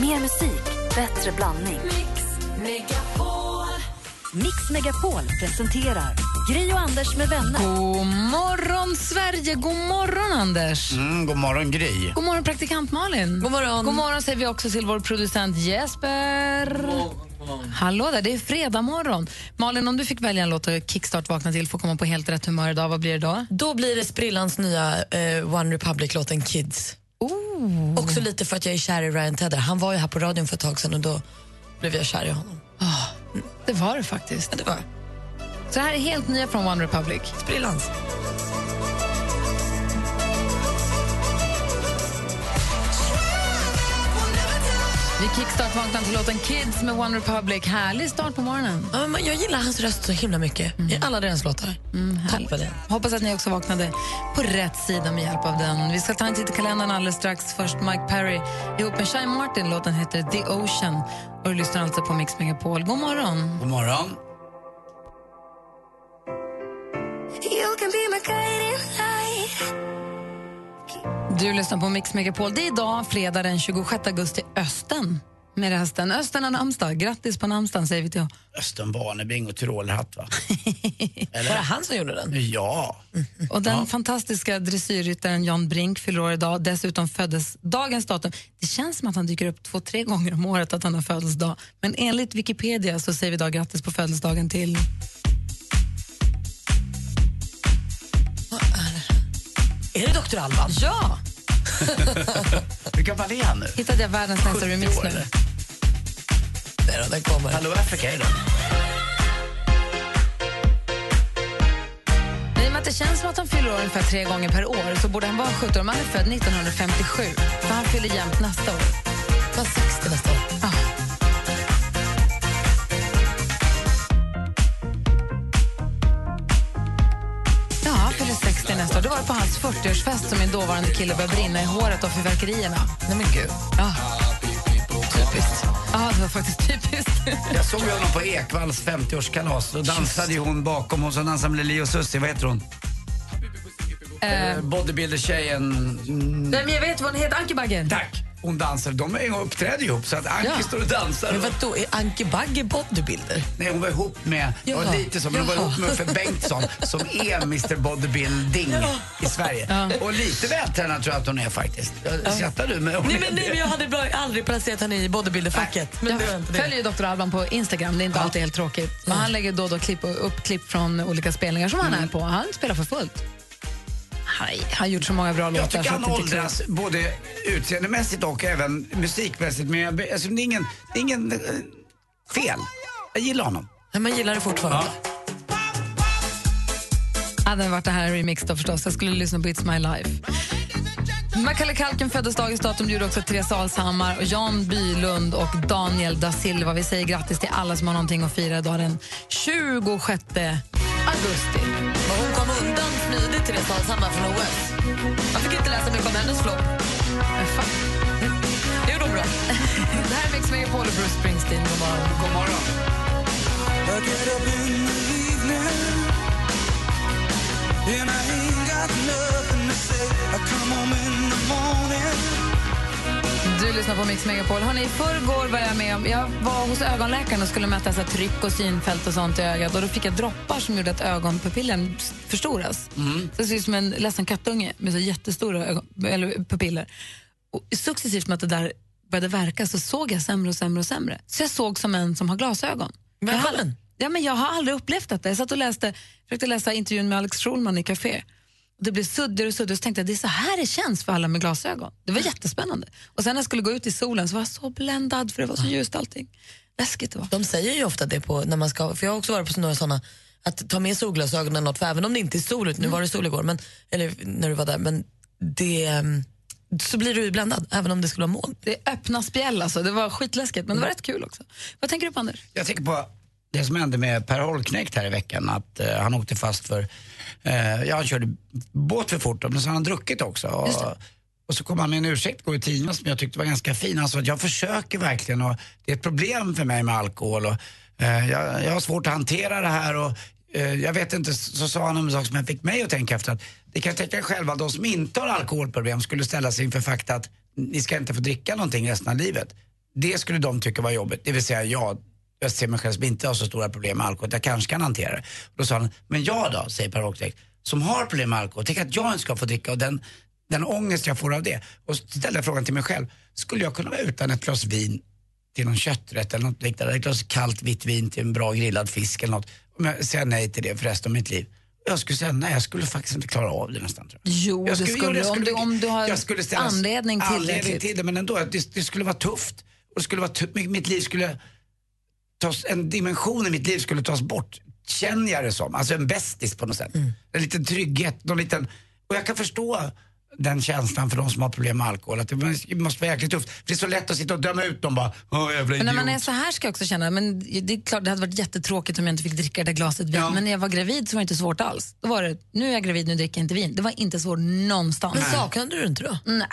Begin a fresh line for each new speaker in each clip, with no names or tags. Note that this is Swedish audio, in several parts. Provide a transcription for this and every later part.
Mer musik, bättre blandning.
Mix Megapol.
Mix Megapol presenterar Gri och Anders med vänner.
God morgon, Sverige! God morgon, Anders!
Mm, god morgon Gry.
God morgon, praktikant Malin!
God morgon.
God morgon säger vi också till vår producent Jesper. Hallå där, det är fredag morgon. Malin, om du fick välja en låt att kickstart vakna till för att komma på helt rätt humör idag, vad blir det då?
Då blir det sprillans nya eh, One Republic-låten Kids.
Oh.
Också lite för att jag är kär i Ryan Tedder. Han var ju här på radion för ett tag sedan och då blev jag kär i honom.
Det var det faktiskt.
Men det var
Så det här är helt nya från One Republic.
sprillans.
Vi kickstart vaknar till låten Kids med One Republic. Härlig start på morgonen.
Ja, men jag gillar hans röst så himla mycket i alla deras låtar. Toppen.
Mm, Hoppas att ni också vaknade på rätt sida med hjälp av den. Vi ska ta en titt i kalendern alldeles strax. Först Mike Perry ihop med Shine Martin. Låten heter The Ocean. Och du lyssnar alltså på Mix Megapol. God morgon!
God morgon.
Du lyssnar på Mix Megapol. Det är idag, fredag den 26 augusti, Östen. Med resten. Östen har namnsdag. Grattis på namnsdagen säger vi till honom.
Östen Warnerbring och Tyrolerhatt va?
Var det han som gjorde den?
Ja.
Och den fantastiska dressyrryttaren Jan Brink fyller år idag. Dessutom föddes dagens datum. Det känns som att han dyker upp två, tre gånger om året att han har födelsedag. Men enligt Wikipedia så säger vi idag grattis på födelsedagen till...
Är det Dr. Alban?
Ja!
Hur gammal är han nu?
Hittade jag världens nästa
70
remix
år,
nu.
eller?
Nej då, den kommer.
Hello Africa är det.
Men I och med att det känns som att han fyller år ungefär tre gånger per år så borde han vara 17 om han är född 1957. För han fyller jämnt nästa år.
Han var 60 nästa år.
Ah. Ja, han fyller 60 nästa år. Det var på hans 40-årsfest som min dåvarande kille började brinna i håret av fyrverkerierna.
Nej men gud.
Ja. Typiskt. Ja, det var faktiskt typiskt.
Jag såg ju honom på Ekvalls 50-årskalas. Då dansade ju hon bakom. Hon som dansade med Lili och Susie. Vad heter hon? Eh, Bodybuilder-tjejen. Mm,
Ehm. Nej, men jag vet vad hon heter. Anki Bagger.
tack. Hon dansar. De är- uppträder ju ihop så att Anki
Ja.
står och dansar.
Men vadå, är Anki Bagge bodybuilder?
Nej, hon var ihop med, det var
Jaha.
lite som, men hon var
Jaha.
ihop med Uffe Bengtsson som är Mr Bodybuilding i Sverige. Och lite vältränad tror jag att hon är faktiskt. Jag Skrattar du? Men hon
Nej
är
men, nej,
det.
men jag hade bara aldrig placerat henne i bodybuilderfacket. Men
Jag
det var inte det.
följer ju Dr. Alban på Instagram, det är inte alltid helt tråkigt. Men han lägger då och då klipp, upp klipp från olika spelningar som
Mm.
han är på. Han spelar för fullt. Han har- han har gjort så många bra låtar.
Jag tycker
så
han
att det inte är klokt.
åldras både utseendemässigt och även musikmässigt. Men jag, alltså, det är ingen, det är ingen eh, fel. Jag gillar honom.
Men man gillar det fortfarande.
Hade det varit det här remix då förstås. Jag skulle lyssna på It's My Life. Macaulay Culkin föddes dagens datum. Det gjorde också Therese Alshammar, och Jan Bylund och Daniel da Silva. Vi säger grattis till alla som har någonting att fira idag den 26 augusti.
Men hon kom undan smidigt Therese Alshammar från OS. Jag fick inte läsa mycket om hennes flopp.
Men fan,
Det gjorde hon bra.
Det här är Mix Megapol och Bruce Springsteen. God morgon.
God morgon.
Du lyssnar på Mix Megapol. Hörrni, I förrgår var jag med om... Jag var hos ögonläkaren och skulle mäta så här, tryck och synfält och sånt i ögat. Och då fick jag droppar som gjorde att ögonpupillen s- förstoras.
Mm.
Så jag ser ut som en ledsen kattunge med så jättestora ögon, eller pupiller. Och successivt med att det där började verka så såg jag sämre och sämre och sämre. Så jag såg som en som har glasögon. Jag har-
Välkommen.
Ja, men jag har aldrig upplevt detta. Jag satt och läste, försökte läsa intervjun med Alex Schulman i Café. Det blev suddigare och suddigare. Så tänkte jag, det är så här det känns för alla med glasögon. Det var jättespännande. Och sen när jag skulle gå ut i solen så var jag så bländad för det var så ljust allting. Läskigt det var.
De säger ju ofta det på när man ska, för jag har också varit på några sådana, att ta med solglasögon eller något, för även om det inte är sol ute, nu var det sol igår, men, eller när du var där, men det, ehm, så blir du ju bländad även om det skulle vara moln.
Det är öppna spjäll alltså. Det var skitläskigt men det var rätt kul också. Vad tänker du på Anders?
Jag tänker på det som hände med Per Holknekt här i veckan. Att eh, han åkte fast för, eh, ja han körde båt för fort men så har han druckit också.
Just
Och, och så kom han med en ursäkt går i tidningen som jag tyckte var ganska fin. Han sa att jag försöker verkligen och det är ett problem för mig med alkohol. Och, eh, jag, jag har svårt att hantera det här och eh, jag vet inte, så sa han en sak som fick mig att tänka efter. Att det kan jag tänka själva, de som inte har alkoholproblem skulle ställa sig inför fakta att ni ska inte få dricka någonting resten av livet Det skulle de tycka var jobbigt. Det vill säga jag, jag ser mig själv som inte har så stora problem med alkohol. Jag kanske kan hantera det. Då sa han, men jag då, säger Per Åkdäck, som har problem med alkohol. Tänk att jag inte ska få dricka och den, den ångest jag får av det. Och så ställde jag frågan till mig själv, skulle jag kunna vara utan ett glas vin till någon kötträtt eller något liknande. Ett glas kallt vitt vin till en bra grillad fisk eller något. Om jag säger nej till det för resten av mitt liv. Jag skulle säga nej, jag skulle faktiskt inte klara av det nästan. Tror jag.
Jo,
jag
det skulle,
jag
om, du, om du har
jag skulle ställa
anledning typ.
anledning
tillräckligt.
till det, men ändå, det, det skulle vara tufft. Och det skulle vara tufft. Mitt mitt liv skulle tas, en dimension i mitt liv skulle tas bort, känner jag det som. Alltså en bästis på något sätt.
Mm.
En liten trygghet, någon liten... Och jag kan förstå den känslan för de som har problem med alkohol, att det måste- det måste vara jäkligt tufft. För det är så lätt att sitta och döma ut dem bara, åh jävla
Men när man är
idiot."
så här ska jag också känna, men det är klart det hade varit jättetråkigt om jag inte fick dricka det där glaset vin.
Ja.
Men när jag var gravid så var det inte svårt alls. Då var det, nu är jag gravid, nu dricker jag inte vin. Det var inte svårt någonstans.
Men saknade du det inte då?
Nej.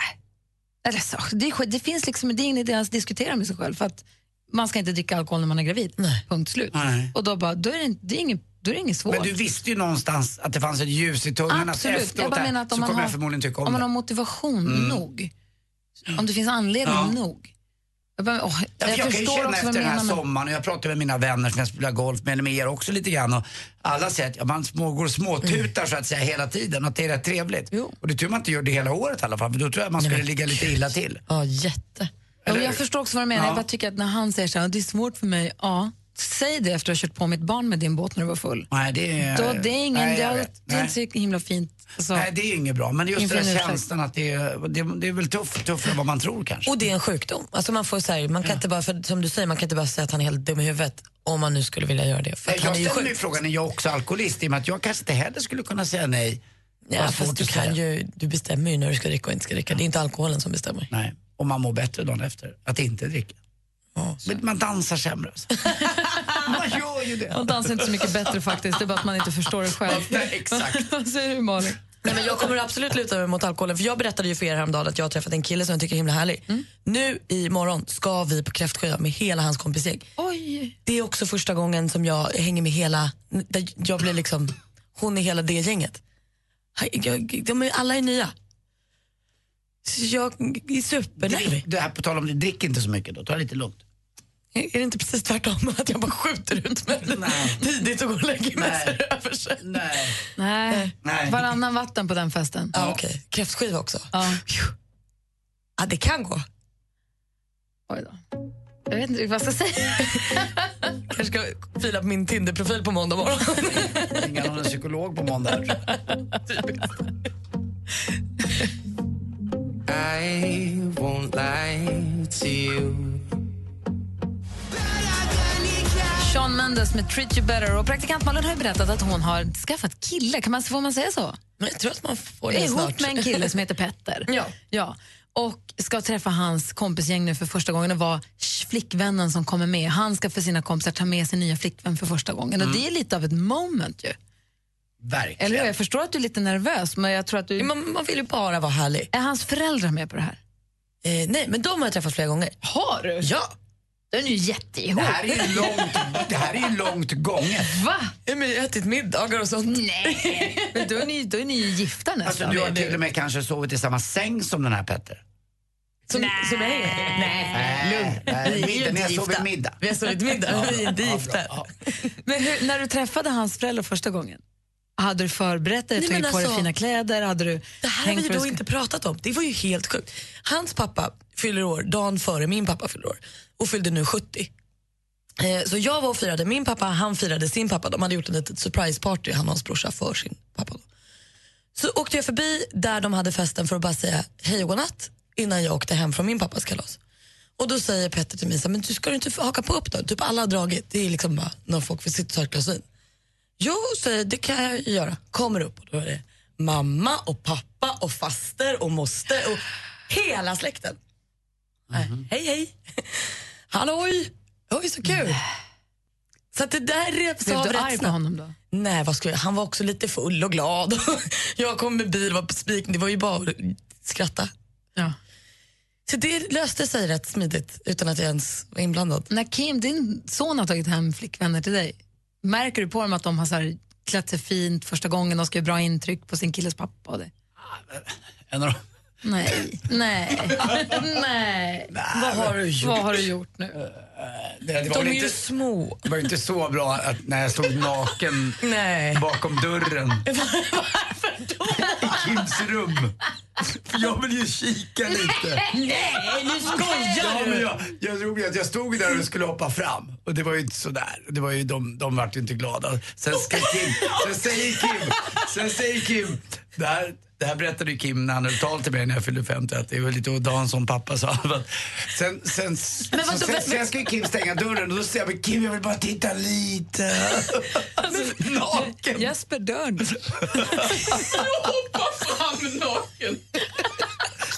Eller så, det, är, skit- det finns liksom, det är ingen idé att ens diskutera med sig själv. För att man ska inte dricka alkohol när man är gravid.
Nej.
Punkt slut.
Nej.
Och då, bara, då är det, inte- det, är inget, då är det inget svårt.
Men du visste ju någonstans att det fanns ett ljus i tunneln.
Absolut.
Att
Jag
efteråt
bara
här,
menar att
så
om
kommer
man,
jag
har,
förmodligen tycka om,
om man har
det. Mm.
motivation nog, om det finns anledning
Ja.
nog. Jag, bara, åh,
Ja,
jag,
för Jag, kan ju
förstår
känna
också
efter
vad du
den här
menar. Men,
sommaren, och jag pratar med mina vänner som jag spelar golf med, eller med er också lite grann. Och alla säger att ja, man små, går och småtutar så att säga hela tiden och att det är rätt trevligt.
Jo.
Och det är tur man inte gör det hela året i alla fall, för då tror jag man skulle ligga lite illa till.
Ja, jätte.
Jo,
eller
jag
hur?
förstår också vad du menar.
Ja.
Jag bara tycker att när han säger så här, det är svårt för mig. Ja, säg det efter att ha kört på mitt barn med din båt när du var full.
Nej, det är...
Då, det är, ingen,
Nej, jag
det,
vet.
det är
Nej.
inte så himla fint. Alltså.
Nej, det är inget bra. Men just
Inför
den
en
här
ursäkt.
känslan att det är, det, det är väl tuff, tuffare än vad man tror kanske.
Och det är en sjukdom. Alltså man får så här, man kan inte bara, för, som du säger, man kan inte bara säga att han är helt dum i huvudet om man nu skulle vilja göra det. För
Nej,
att
Jag
han är ju
ställer mig
sjuk.
frågan, är jag också alkoholist? I och med att jag kanske inte heller skulle kunna säga nej.
Ja,
Vad svårt
fast du,
att säga.
kan ju, du bestämmer ju när du ska dricka och inte ska dricka. Det är inte alkoholen som bestämmer.
Nej, och man mår bättre dagen efter. Att inte dricka. Men man dansar sämre. Alltså. man gör ju det.
Man dansar inte så mycket bättre faktiskt, det är bara att man inte förstår det själv.
Nej, exakt.
Vad säger du Malin?
Nej, men jag kommer absolut luta mig mot alkoholen. För Jag berättade ju för er häromdagen att jag har träffat en kille som jag tycker är himla härlig. Nu imorgon ska vi på kräftskiva med hela hans kompisgäng.
Oj,
Det är också första gången som jag hänger med hela, där jag blir liksom, hon är hela det gänget. Jag, de är, alla är nya. Så jag är
Drick,
supernervig.
det här på tal om det, drick inte så mycket då. Ta det lite lugnt.
Är det inte precis tvärtom? Att jag bara skjuter ut mig
Nej.
tidigt och går och lägger mig
Nej.
så är det över sig.
Nej.
nej.
Nej.
Varannan vatten på den festen.
Ja, okej. Kräftskiva också.
Ja.
Phew. Ja, det kan gå.
Oj då. Jag vet inte riktigt vad jag ska säga.
Jag ska fila på min Tinder-profil på måndag morgon.
Ringa någon psykolog på måndag.
I won't lie to you.
Sean Mendes med Treat You Better. Och praktikant Malin har ju berättat att hon har skaffat kille. Kan man, får man säga så?
Men jag tror att man får
Är
det snart.
ihop med en kille som heter Petter.
Ja.
ja. Och ska träffa hans kompisgäng nu för första gången och vara sh- flickvännen som kommer med. Han ska för sina kompisar ta med sin nya flickvän för första gången.
Mm.
Och det är lite av ett moment ju.
Verkligen.
Eller hur? Jag förstår att du är lite nervös, men jag tror att du...
Man, man vill ju bara vara härlig.
Är hans föräldrar med på det här?
Eh, nej, men de har jag träffat flera gånger.
Har du?
Ja.
Den är ju jätteihop.
Det här är ju långt, det här är ju långt gånget.
Va?
Ja, men Jag har ätit middagar och sånt.
Nej. Men då är ni, då är ni ju gifta nästan.
Alltså, du har till och med kanske sovit i samma säng som den här Petter.
Som, som jag är. Nej.
Nej,
Vi är ju
middag.
inte
Ni har sovit
gifta.
middag.
Vi har sovit middag, men vi är inte gifta.
Men hur, när du träffade hans föräldrar första gången, hade du förberett dig?
Nej,
Tagit
men
på dig
alltså-
fina kläder? Hade du
Det här har vi
tänkt
ju
vad du
då
ska-
inte pratat om. Det var ju helt sjukt. Hans pappa fyller år dagen före min pappa fyller år och fyllde nu 70. Eh, Så jag var och firade min pappa, han firade sin pappa. De hade gjort en litet surprise-party, han och hans brorsa, för sin pappa. Då. Så åkte jag förbi där de hade festen för att bara säga hej och godnatt innan jag åkte hem från min pappas kalas. Och då säger Petter till mig, så här, men du ska du inte få haka på upp då? Typ alla har dragit, det är liksom bara när folk vill sitta och ta ett glas vin. Jo, säger jag, det kan jag göra. Kommer upp och då är det mamma och pappa och faster och moster och hela släkten.
Mhm.
Nej, Hej, hej. Halloj. Oj, så kul. Så att det där revs
Blev
av
du
rätt
arg på
snabbt.
honom då?
Nej, vad skulle jag? han var också lite full och glad. jag kom med bil och var besviken. Det var ju bara att skratta.
Ja.
Så det löste sig rätt smidigt utan att jag ens var inblandad.
När Kim, din son, har tagit hem flickvänner till dig, märker du på dem att de har så här, klätt sig fint första gången, de ska göra bra intryck på sin killes pappa och det?
En av de
Nej, nej, nej.
Vad har du gjort? Eh,
Vad har du gjort nu?
Det, det, var
De
väl
är
inte,
ju små.
det var inte så bra att när jag stod naken
Nej.
bakom dörren i Kims rum. För jag vill ju kika lite.
Nej, nu skojar
Ja, men jag, jag tror ju att jag stod där och skulle hoppa fram och det var ju inte sådär. Det var ju, de, de vart ju inte glada. Sen, ska Kim, sen säger Kim, sen säger Kim, det här, det här berättade ju Kim när han höll tal till mig när jag fyllde 50 att det var lite odant som pappa sa. Men Sen, sen,
Men vadå,
så, sen,
men-
sen ska ju Kim stänga dörren och då säger jag men Kim jag vill bara titta lite.
Alltså,
Naken.
Jesper Dörn.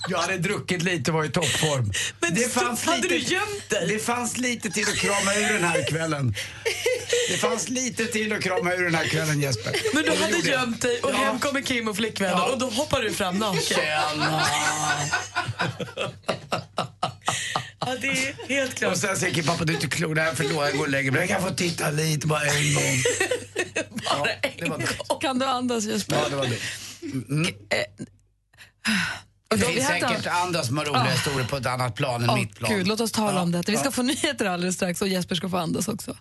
Jag hade druckit lite och var i toppform.
Men så- hade du gömt dig?
Det fanns lite till att krama ur den här kvällen. Det fanns lite till att krama ur den här kvällen Jesper.
Men du
Och det
hade
gjorde jag.
gömt dig och
Ja.
hem kommer Kim och flickvännen
Ja.
och då hoppar du fram naken.
Tjena.
Ja, det är helt
Och
klart.
sen säger Kim, pappa du är inte klok, det här förlorar jag, jag går och lägger mig. Jag kan få titta lite bara en gång. Ja, det var det.
Kan du andas Jesper?
Ja, det var det.
Och
Det
då, vi
finns
har inte-
säkert andra som har roliga historier på ett annat plan än
Ja,
mitt plan.
Gud, låt oss tala om detta. Vi ska få nyheter alldeles strax och Jesper ska få andas också.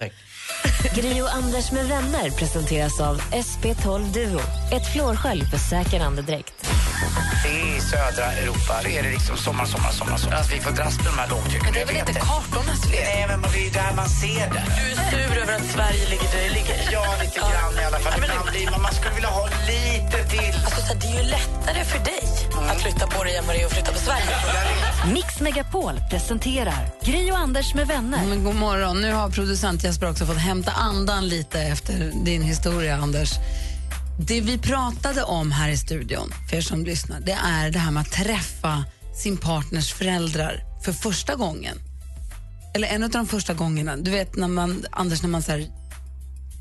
Gri och Anders med vänner presenteras av SP12 Duo. Ett flårskölj för säker andedräkt.
I södra Europa är det liksom sommar, sommar, sommar. sommar. Alltså, vi får dras med de här lågtrycken. Men det är väl inte kartornas fel? Nej, men det är ju där man ser det.
Du är sur över att Sverige ligger där det ligger.
Ja, lite grann i alla fall. Ibland blir man, man skulle vilja ha lite till.
Alltså, det är ju lättare för dig att flytta på dig än vad det är att flytta på Sverige.
Mix Megapol presenterar Gri och Anders med vänner.
Men god morgon. Nu har producent Jesper också fått hämta andan lite efter din historia, Anders. Det vi pratade om här i studion, för er som lyssnar, det är det här med att träffa sin partners föräldrar för första gången. Eller en av de första gångerna. Du vet, när man, Anders, när man så här,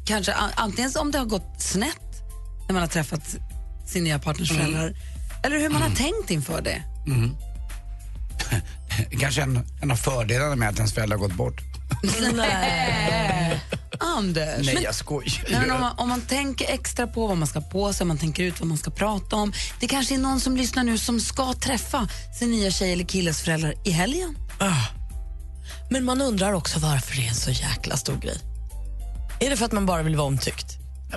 kanske a- antingen om det har gått snett när man har träffat sin nya partners föräldrar, eller hur man har tänkt inför det.
Mm. Kanske en, en av fördelarna med att ens föräldrar har gått bort.
Anders!
Nej, jag skojar.
Nej, men om, man, om man tänker extra på vad man ska ha på sig, man tänker ut vad man ska prata om. Det kanske är någon som lyssnar nu som ska träffa sin nya tjej eller killes föräldrar i helgen.
Ah. Men man undrar också varför det är en så jäkla stor grej. Är det för att man bara vill vara omtyckt?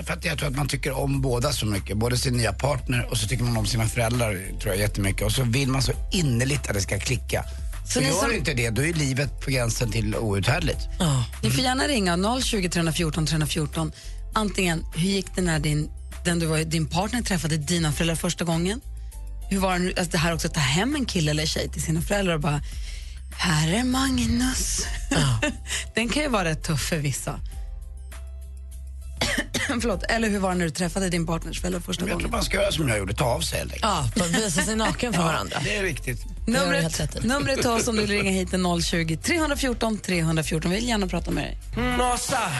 För att jag tror att man tycker om båda så mycket. Både sin nya partner och så tycker man om sina föräldrar tror jag jättemycket. Och så vill man så innerligt att det ska klicka. Så
ni
gör
som-
inte det, då är livet på gränsen till outhärdligt.
Ja.
Ni får gärna ringa 020 314 314. Antingen, hur gick det när din, den du var, din partner träffade dina föräldrar första gången? Hur var det, nu- alltså det här också att ta hem en kille eller tjej till sina föräldrar och bara, här är Magnus. den kan ju vara rätt tuff för vissa. Förlåt, eller hur var det när du träffade din partners föräldrar första
Men jag tror
gången?
man ska göra som jag gjorde, ta av sig helt enkelt.
Ja, man visar sig naken för varandra.
Det är riktigt.
har du helt
Numret,
rätt i.
numret till oss om du vill ringa hit är 020 314 314. Vi vill gärna prata med dig.
Nossa,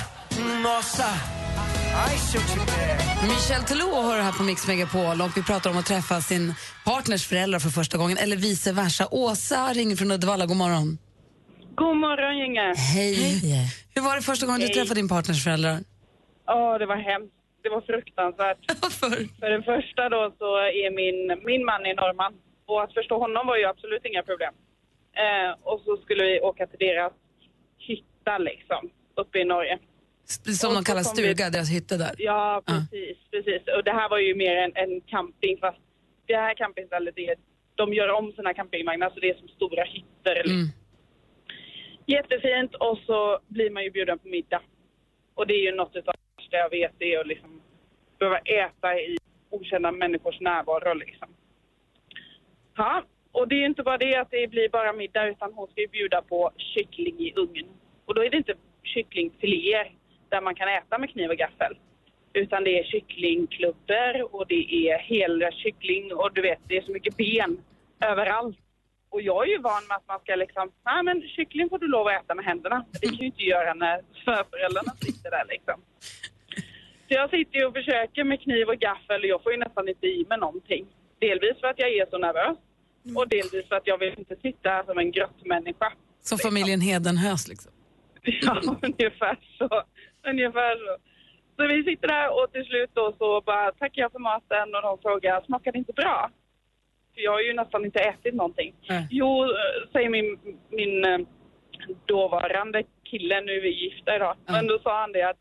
nossa.
Michel Telou har det här på Mix Megapol och vi pratar om att träffa sin partners föräldrar för första gången eller vice versa. Åsa ringer från Uddevalla, god morgon.
God morgon gänget.
Hej.
Hej.
Hur var det första gången du
Hej.
träffade din partners föräldrar?
Åh, det var hemskt. Det var fruktansvärt.
Varför?
För det första då så är min, min man är norrman och att förstå honom var ju absolut inga problem. Eh, och så skulle vi åka till deras hytta liksom, uppe i Norge.
Som
Och
de
så
kallar
kom
stuga, deras hytte där.
Ja, precis, precis. Och det här var ju mer en, en camping fast det här campingstället är, de gör om sina campingvagnar så det är som stora hytter. liksom.
Mm.
Jättefint och så blir man ju bjuden på middag. Och det är ju något utav det värsta jag vet, det är att liksom behöva äta i okända människors närvaro liksom. Ja, och det är ju inte bara det att det blir bara middag utan hon ska ju bjuda på kyckling i ugn. Och då är det inte kycklingfiléer där man kan äta med kniv och gaffel. Utan det är kycklingklubbor och det är hel kyckling och du vet, det är så mycket ben överallt. Och jag är ju van med att man ska liksom, nej men kyckling får du lov att äta med händerna. Det kan ju inte göra när förföräldrarna sitter där liksom. Så jag sitter ju och försöker med kniv och gaffel och jag får ju nästan inte i mig någonting. Delvis för att jag är så nervös och delvis för att jag vill inte sitta som en grottmänniska.
Som familjen Hedenhös liksom.
Ja, ungefär så. Ungefär så. Så vi sitter där och till slut då så bara tackar jag för maten och de frågar smakar det inte bra? för jag har ju nästan inte ätit någonting.
Nej.
Jo, eh, säger min, min eh, dåvarande kille, nu är vi gifta idag, men då sa han det att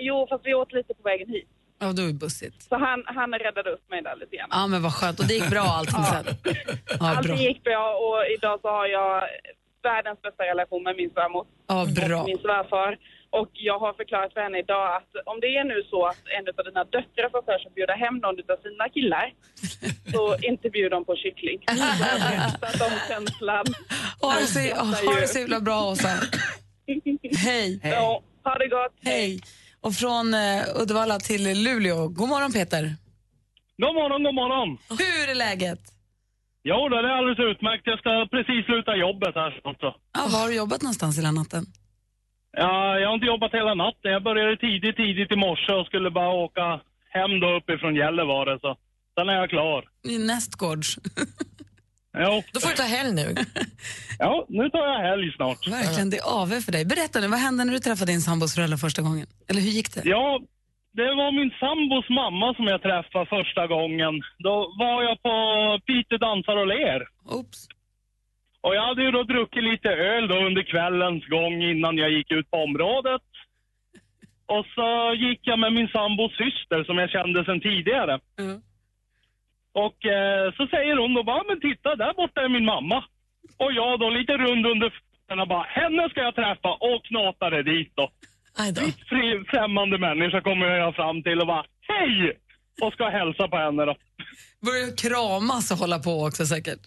jo, fast vi åt lite på vägen hit.
Ja, då är det bussigt.
Så han, han räddade upp mig där lite grann.
Ja, men vad skönt. Och det gick bra allting sen. Ja, bra.
Allting gick bra och idag så har jag världens bästa relation med min svärmor
Ja, bra.
och min svärfar. Och jag har förklarat för henne idag att om det är nu så att en av dina döttrar får för sig att bjuda hem någon av sina killar, så inte bjud dem på kyckling. Jag har berättat om känslan.
Ha det så, ha det så himla bra, Åsa. Hej.
Ja, ha det gott.
Hej. Och från eh, Uddevalla till Luleå. God morgon, Peter.
God morgon, god morgon.
Hur är läget?
Jo, då, det är alldeles utmärkt. Jag ska precis sluta jobbet här snart. så.
Ja, var har du jobbat någonstans hela natten?
Ja, jag har inte jobbat hela natten. Jag började tidigt, tidigt i morse och skulle bara åka hem då uppifrån Gällivare. Så. Sen är jag klar.
I Nästgårds.
Jo,
Då får du ta helg nu.
ja, nu tar jag helg snart.
Verkligen, det är AV för dig. Berätta nu, vad hände när du träffade din sambos föräldrar första gången? Eller hur gick det?
Ja, det var min sambos mamma som jag träffade första gången. Då var jag på Piteå dansar och ler.
Oops.
Och jag hade ju då druckit lite öl då under kvällens gång innan jag gick ut på området. Och så gick jag med min sambos syster som jag kände sedan tidigare.
Ja.
Och eh, så säger hon då bara, men titta där borta är min mamma. Och jag då lite rund under fötterna bara, henne ska jag träffa och knatade dit då.
Aj då.
Fri, främmande människa kommer jag fram till och bara, hej! Och ska hälsa på henne då.
Började kramas och hålla på också säkert.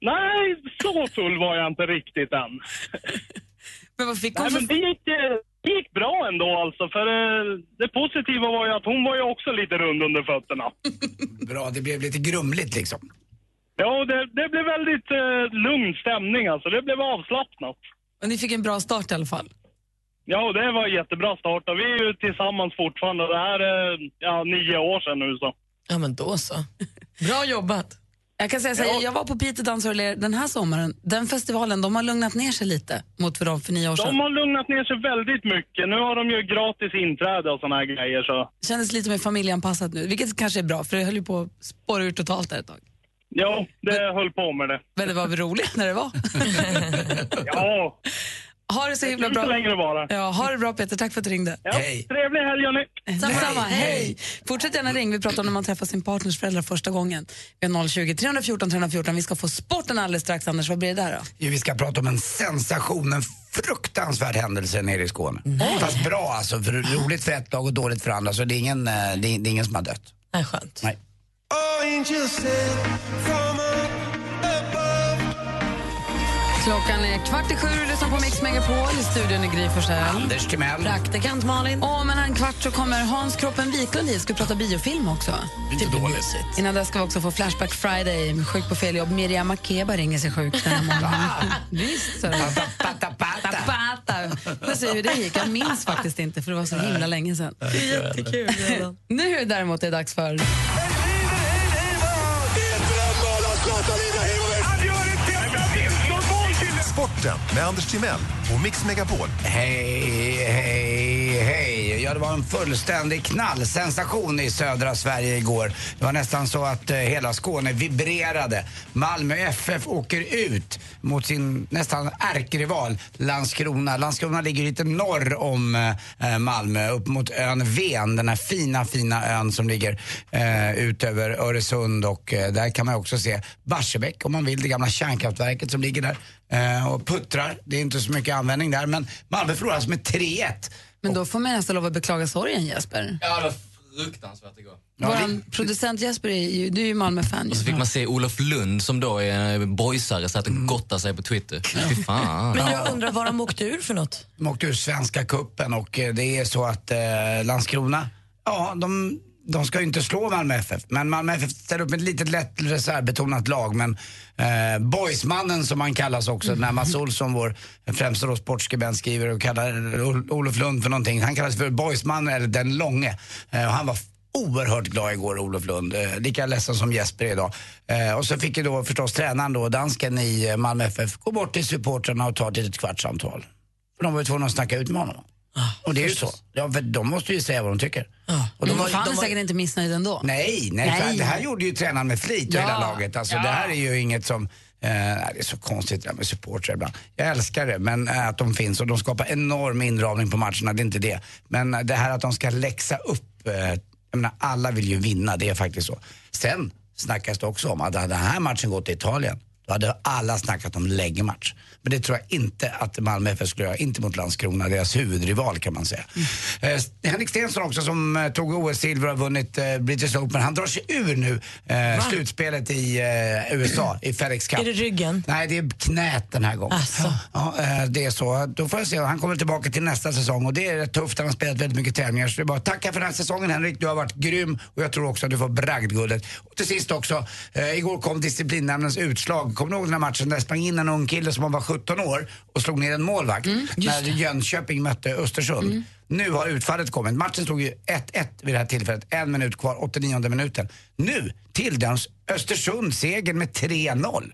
Nej, så full var jag inte riktigt än.
Men vad fick hon
Nej, men
för...
det gick, eh, det gick bra ändå alltså. För eh, det positiva var ju att hon var ju också lite rund under fötterna.
Bra, det blev lite grumligt liksom.
Ja, och det, det blev väldigt eh, lugn stämning alltså. Det blev avslappnat.
Ni fick en bra start i alla fall.
Ja, och det var en jättebra start och vi är ju tillsammans fortfarande. Det här är ja, nio år sedan nu så.
Ja, men då så. Bra jobbat.
Jag kan säga så här, jag var på Piteå Dansar och Ler den här sommaren. Den festivalen, de har lugnat ner sig lite mot för dem för nio år sedan.
De har lugnat ner sig väldigt mycket. Nu har de ju gratis inträde och såna här grejer så.
Kändes lite mer familjeanpassat nu, vilket kanske är bra för det höll ju på att spåra ur totalt där ett tag.
Ja, det höll på med det.
Men det var väl roligt när det var.
Ja,
Ha det så himla
inte
bra.
längre bara.
Ja, ha det bra Peter, tack för att du ringde.
Ja,
Hej.
Trevlig helg hörni!
Detsamma, hej. Fortsätt gärna ring. Vi pratar om när man träffar sin partners föräldrar första gången. Vi har 020 314 314. Vi ska få sporten alldeles strax. Anders, vad blir det där då?
Jo, Vi ska prata om en sensation, en fruktansvärd händelse nere i Skåne.
Mm.
Fast bra alltså, för roligt för ett lag och dåligt för andra. Så det är ingen, eh, det är, det är ingen som har dött.
Nej, skönt.
Nej.
Klockan är kvart i sju och du lyssnar på Mix Megapol. I studion är Gry Forssell.
Anders Timell.
Praktikant Malin.
Om en kvart så kommer Hans Kroppen Wiklund hit. Ska vi prata biofilm också?
Inte dåligt.
Innan dess ska vi också få Flashback Friday. Sjuk på fel jobb. Miriam Makeba ringer sig sjuk den här morgonen. Visst, så.
Alltså,
Patapata.
Zapata. Får se hur det gick. Jag minns faktiskt inte, för det var så himla länge sedan. Det är jättekul. nu däremot är det dags för...
Sporten med Anders Timell och Mix Megapol.
Hej, hej, hej. Ja, det var en fullständig knallsensation i södra Sverige igår. Det var nästan så att eh, hela Skåne vibrerade. Malmö FF åker ut mot sin nästan ärkerival Landskrona. Landskrona ligger lite norr om eh, Malmö, upp mot ön Ven, den här fina, fina ön som ligger eh, ut över Öresund och eh, där kan man också se Barsebäck om man vill, det gamla kärnkraftverket som ligger där eh, och puttrar. Det är inte så mycket användning där men Malmö förlorar alltså med 3-1.
Men då får man nästan lov att beklaga sorgen, Jesper.
Ja, det var fruktansvärt igår.
Ja,
Vår
det-
producent Jesper, är ju, du är ju Malmö-fan. ju.
Och så fick man se Olof Lund som då är en eh, boysare, satt och gottade sig på Twitter. Fy fan.
Men jag undrar var de åkte ur för något?
De åkte ur Svenska Kuppen och eh, det är så att eh, Landskrona, ja de, de ska ju inte slå Malmö FF. Men Malmö FF ställer upp ett litet lätt reservbetonat lag. Men eh, boysmannen som han kallas också,
Mm.
när Mats Olsson, vår främsta då sportskribent, skriver och kallar Ol- Olof Lund för någonting. Han kallas för boysmannen, eller den långe. Eh, och han var oerhört glad igår, Olof Lund. Eh, lika ledsen som Jesper är idag. Eh, och så fick ju då förstås tränaren då, dansken i eh, Malmö FF, gå bort till supportrarna och ta ett litet kvartssamtal. För de var ju tvungna att snacka ut med honom.
Ah,
Och det är ju så. Ja, för de måste ju säga vad de tycker. Och de
Men
har-
han
de
är
har-
säkert inte missnöjd ändå.
Nej, nej,
Nej.
För det här gjorde ju tränaren med flit och
Ja.
hela laget. Alltså, Det här är ju inget som... Eh, nej, det är så konstigt det här med supportrar ibland. Jag älskar det, men eh, att de finns och de skapar enorm inramning på matcherna, det är inte det. Men eh, det här att de ska läxa upp, eh, jag menar alla vill ju vinna, det är faktiskt så. Sen snackas det också om att hade den här matchen gått till Italien, då hade alla snackat om läggmatch. Men det tror jag inte att Malmö FF skulle göra, inte mot Landskrona, deras huvudrival kan man säga. Eh, Henrik Stenson också som eh, tog OS-silver och har vunnit eh, British Open, han drar sig ur nu eh, slutspelet i eh, USA, i FedEx Cup.
Är det ryggen?
Nej, det är knät den här gången.
Alltså.
Ja, eh, det är så. Då får jag se. Han kommer tillbaka till nästa säsong och det är rätt tufft. Han har spelat väldigt mycket tävlingar. Så det är bara att tacka för den här säsongen Henrik. Du har varit grym och jag tror också att du får bragdguldet. Och till sist också, eh, igår kom disciplinnämndens utslag. Kommer du ihåg den här matchen där det sprang in en ung kille som var 17 år och slog ner en målvakt
Mm,
när Jönköping mötte Östersund. Nu har utfallet kommit. Matchen stod ju 1-1 vid det här tillfället. En minut kvar, 89 minuten. Nu tilldöms Östersund segern med 3-0.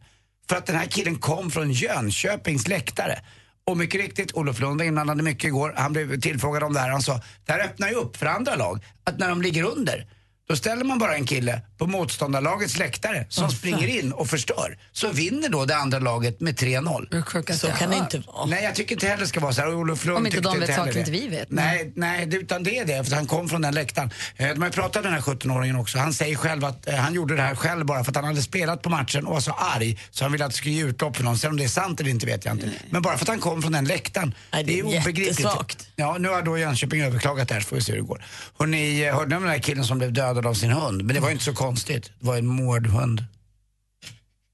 För att den här killen kom från Jönköpings läktare. Och mycket riktigt, Olof Lund var inblandad mycket igår. Han blev tillfrågad om det här. Han sa, det här öppnar ju upp för andra lag. Att när de ligger under, då ställer man bara en kille på motståndarlagets läktare som springer in och förstör. Så vinner då det andra laget med 3-0.
Det är sjukaste
Så
jag
kan det
hört.
inte vara.
Nej, jag tycker inte heller det ska vara så här. Och Olof Lund
Om inte
tyckte
de vet
heller
saker
det.
inte vi vet.
Nej, eh, nej, det- utan det är det. För att han kom från den läktaren. Eh, De har ju pratat med den här 17-åringen också. Han säger själv att eh, han gjorde det här själv bara för att han hade spelat på matchen och var så arg så han ville att det skulle ge utlopp för någon. Sen om det är sant eller inte vet jag inte. Men bara för att han kom från den läktaren.
Nej, det är
ju
jättesvagt.
Ja, nu har då Jönköping överklagat det här så får vi se hur det går. Och ni eh, hörde om den här killen som blev dödad av sin hund. Men det var ju inte så konstigt. Det var en mordhund.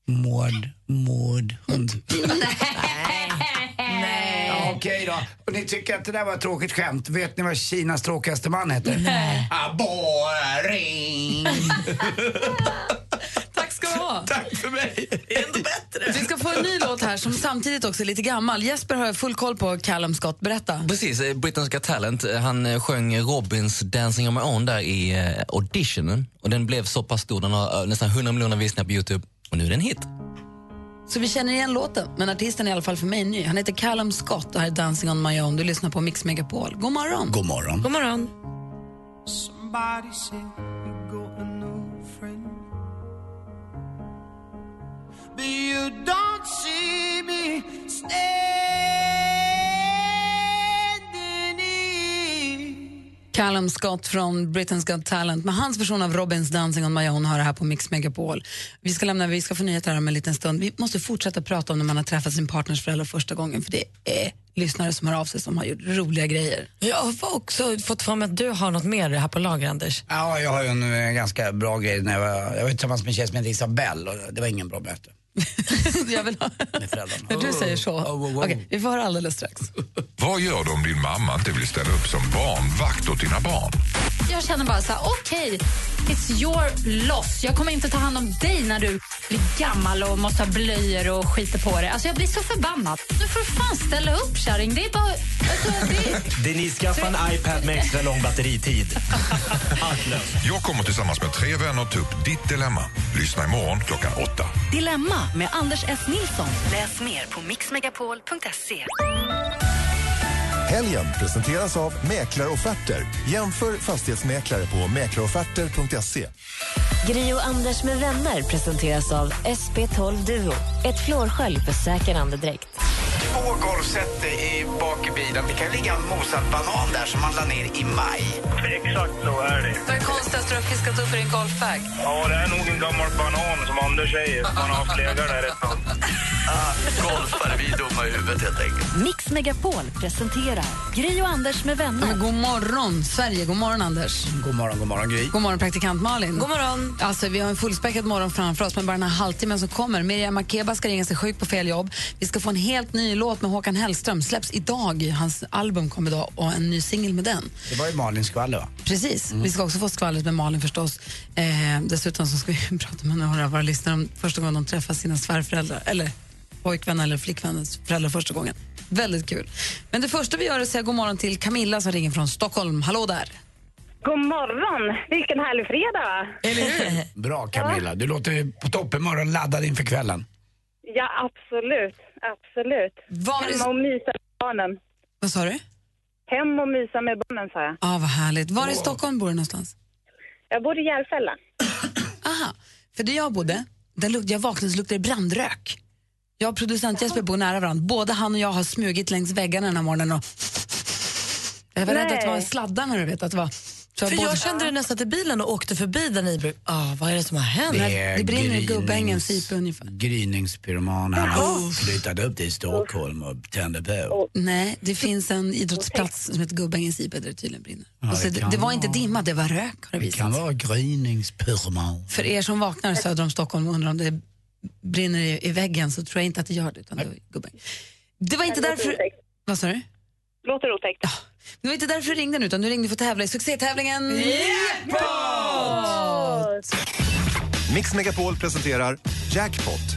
Mord, mordhund. Ja, Okej då. Och ni tycker att det där var ett tråkigt skämt. Vet ni vad Kinas tråkigaste man heter? Nej. Aboring.
Tack ska du ha.
Tack för mig.
Vi ska få en ny låt här som samtidigt också är lite gammal. Jesper har jag full koll på Callum Scott. Berätta.
Precis, eh, Britain's Got Talent. eh, Han eh, sjöng Robins Dancing on my own där i eh, auditionen. Och den blev så pass stor, den har eh, nästan 100 miljoner visningar på Youtube. Och nu är den hit.
Så vi känner igen låten, men artisten är i alla fall för mig ny. Han heter Callum Scott och här är Dancing on my own. Du lyssnar på Mix Megapol. God morgon.
God morgon.
God morgon.
Callum Scott från Britain's Got Talent med hans version av Robins Dancing on my own har det här på Mix Megapol. Vi ska, lämna, vi ska få nyheter här om en liten stund. Vi måste fortsätta prata om när man har träffat sin partners föräldrar första gången för det är lyssnare som hör av sig som har gjort roliga grejer.
Jag har också fått för mig att du har något mer här på lager, Anders.
Ja, jag har ju en eh, ganska bra grej. När jag, var, jag var tillsammans med en tjej som hette Isabelle och det var ingen bra möte
Jag vill ha...
med föräldrarna.
När du säger så.
Oh,
Okej, vi får höra alldeles strax.
Vad gör du om din mamma inte vill ställa upp som barnvakt åt dina barn?
Jag känner bara så här, okej, it's your loss. Jag kommer inte ta hand om dig när du blir gammal och måste ha blöjor och skiter på dig. Alltså jag blir så förbannad. Nu får du fan ställa upp kärring. Det är bara... Alltså, det,
Denise, skaffa en iPad med extra lång batteritid.
Jag kommer tillsammans med tre vänner ta upp ditt dilemma. Lyssna imorgon klockan åtta.
Dilemma med Anders S. Nilsson. Läs mer på mixmegapol.se.
Helgen presenteras av Mäklarofferter. Jämför fastighetsmäklare på mäklarofferter.se.
Gri och Anders med vänner presenteras av SP12 Duo. Ett flårskölj för säker andedräkt.
Två golfset i bak i bilen. Det kan ligga en mosad banan där som man la ner i maj.
Exakt så är det.
Vad är konstigast du har fiskat upp i din golfbag?
Ja, det är nog en gammal banan som Anders säger. Man har haft legat där ett tag.
Golfare, Ah, vi är dumma i huvudet helt enkelt.
Mix Megapol presenterar Gri och Anders med vänner.
Men god morgon, Sverige. God morgon, Anders.
God morgon, god morgon Gry.
God morgon, praktikant Malin.
God morgon.
Alltså, vi har en fullspäckad morgon framför oss, men bara den här halvtimmen som kommer. Miriam Makeba ska ringa sig sjuk på fel jobb. Vi ska få en helt ny låt med Håkan Hellström. Släpps idag. Hans album kom idag och en ny singel med den.
Det var ju Malins skvaller va? Mm.
Precis. Vi ska också få skvallret med Malin förstås. Eh, dessutom så ska vi prata med några av våra lyssnare om första gången de träffar sina svärföräldrar eller pojkvänner eller flickvänners föräldrar första gången. Väldigt kul. Men det första vi gör är att säga god morgon till Camilla som ringer från Stockholm. Hallå där!
God morgon! Vilken härlig fredag, va?
Bra Camilla. Du låter ju på topp imorgon laddad inför kvällen.
Ja, absolut. Absolut.
Var är-
Hemma och mysa med barnen.
Vad sa du?
hem och mysa med barnen, sa jag.
Ja, Ah, vad härligt. Var i Stockholm bor du någonstans?
Jag bor i Järfälla.
Aha, för där jag bodde, där luk- jag vaknade så luktade det brandrök. Jag och producent Jesper bor nära varandra. Både han och jag har smugit längs väggarna den här morgonen och... Jag var rädd att det var
Nej.
sladdarna, du vet. Att det var... så
För
både-
jag kände det nästan till bilen och åkte förbi där ni brukar... Ah, vad är det som har hänt?
Det är
Det brinner i
grins.
gubbängen, Sipe ungefär.
Gryningspyroman han flyttade upp till Stockholm och tände på.
Nej, det finns en idrottsplats som heter Gubbängen Sipe där det tydligen brinner.
Ja,
och så
det
det,
kan
det var inte
vara.
dimma, det var rök. har det
Det
visat
kan
sig.
vara gryningspyroman.
För er som vaknar söder om Stockholm och undrar om det brinner i, i väggen så tror jag inte att det gör det. Utan det, var gubben. det var inte
Det låter
därför...
otäckt.
Vad sa du?
Låter otäckt.
Ja. Det var inte därför du ringde nu, utan du ringde för att tävla i succétävlingen Jackpot!
Mix Megapol presenterar Jackpot.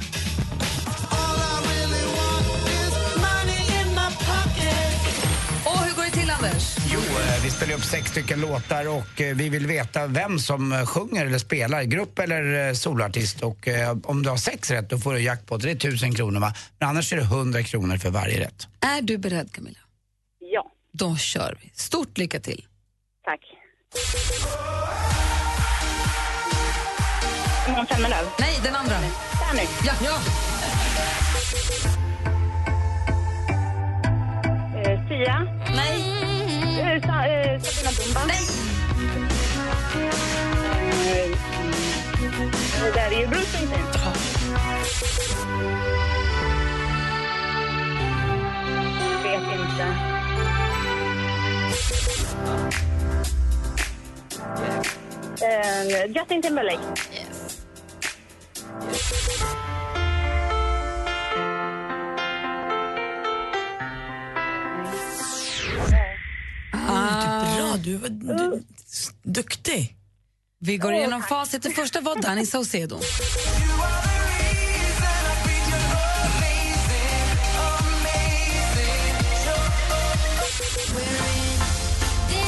Och hur går det till, Anders?
Jo, eh, vi spelar upp sex stycken låtar och eh, vi vill veta vem som eh, sjunger eller spelar, grupp eller eh, soloartist. Och eh, om du har sex rätt då får du jackpot, det är tusen kronor va? Men annars är det 100 kronor för varje rätt.
Är du beredd, Camilla?
Ja.
Då kör vi. Stort lycka till.
Tack. Simon Semmelöv.
Nej, den andra.
Danny.
Ja. ja.
Eh, Sia.
Nej.
Eh, Sa, eh, Sabina Dumba. Nej. Det där är ju Bruce Springsteen. Vet inte. Eh, Justin Timberlake.
Ah. Bra, du var du, du- duktig.
Vi går igenom facit. Det första var Danny Saucedo.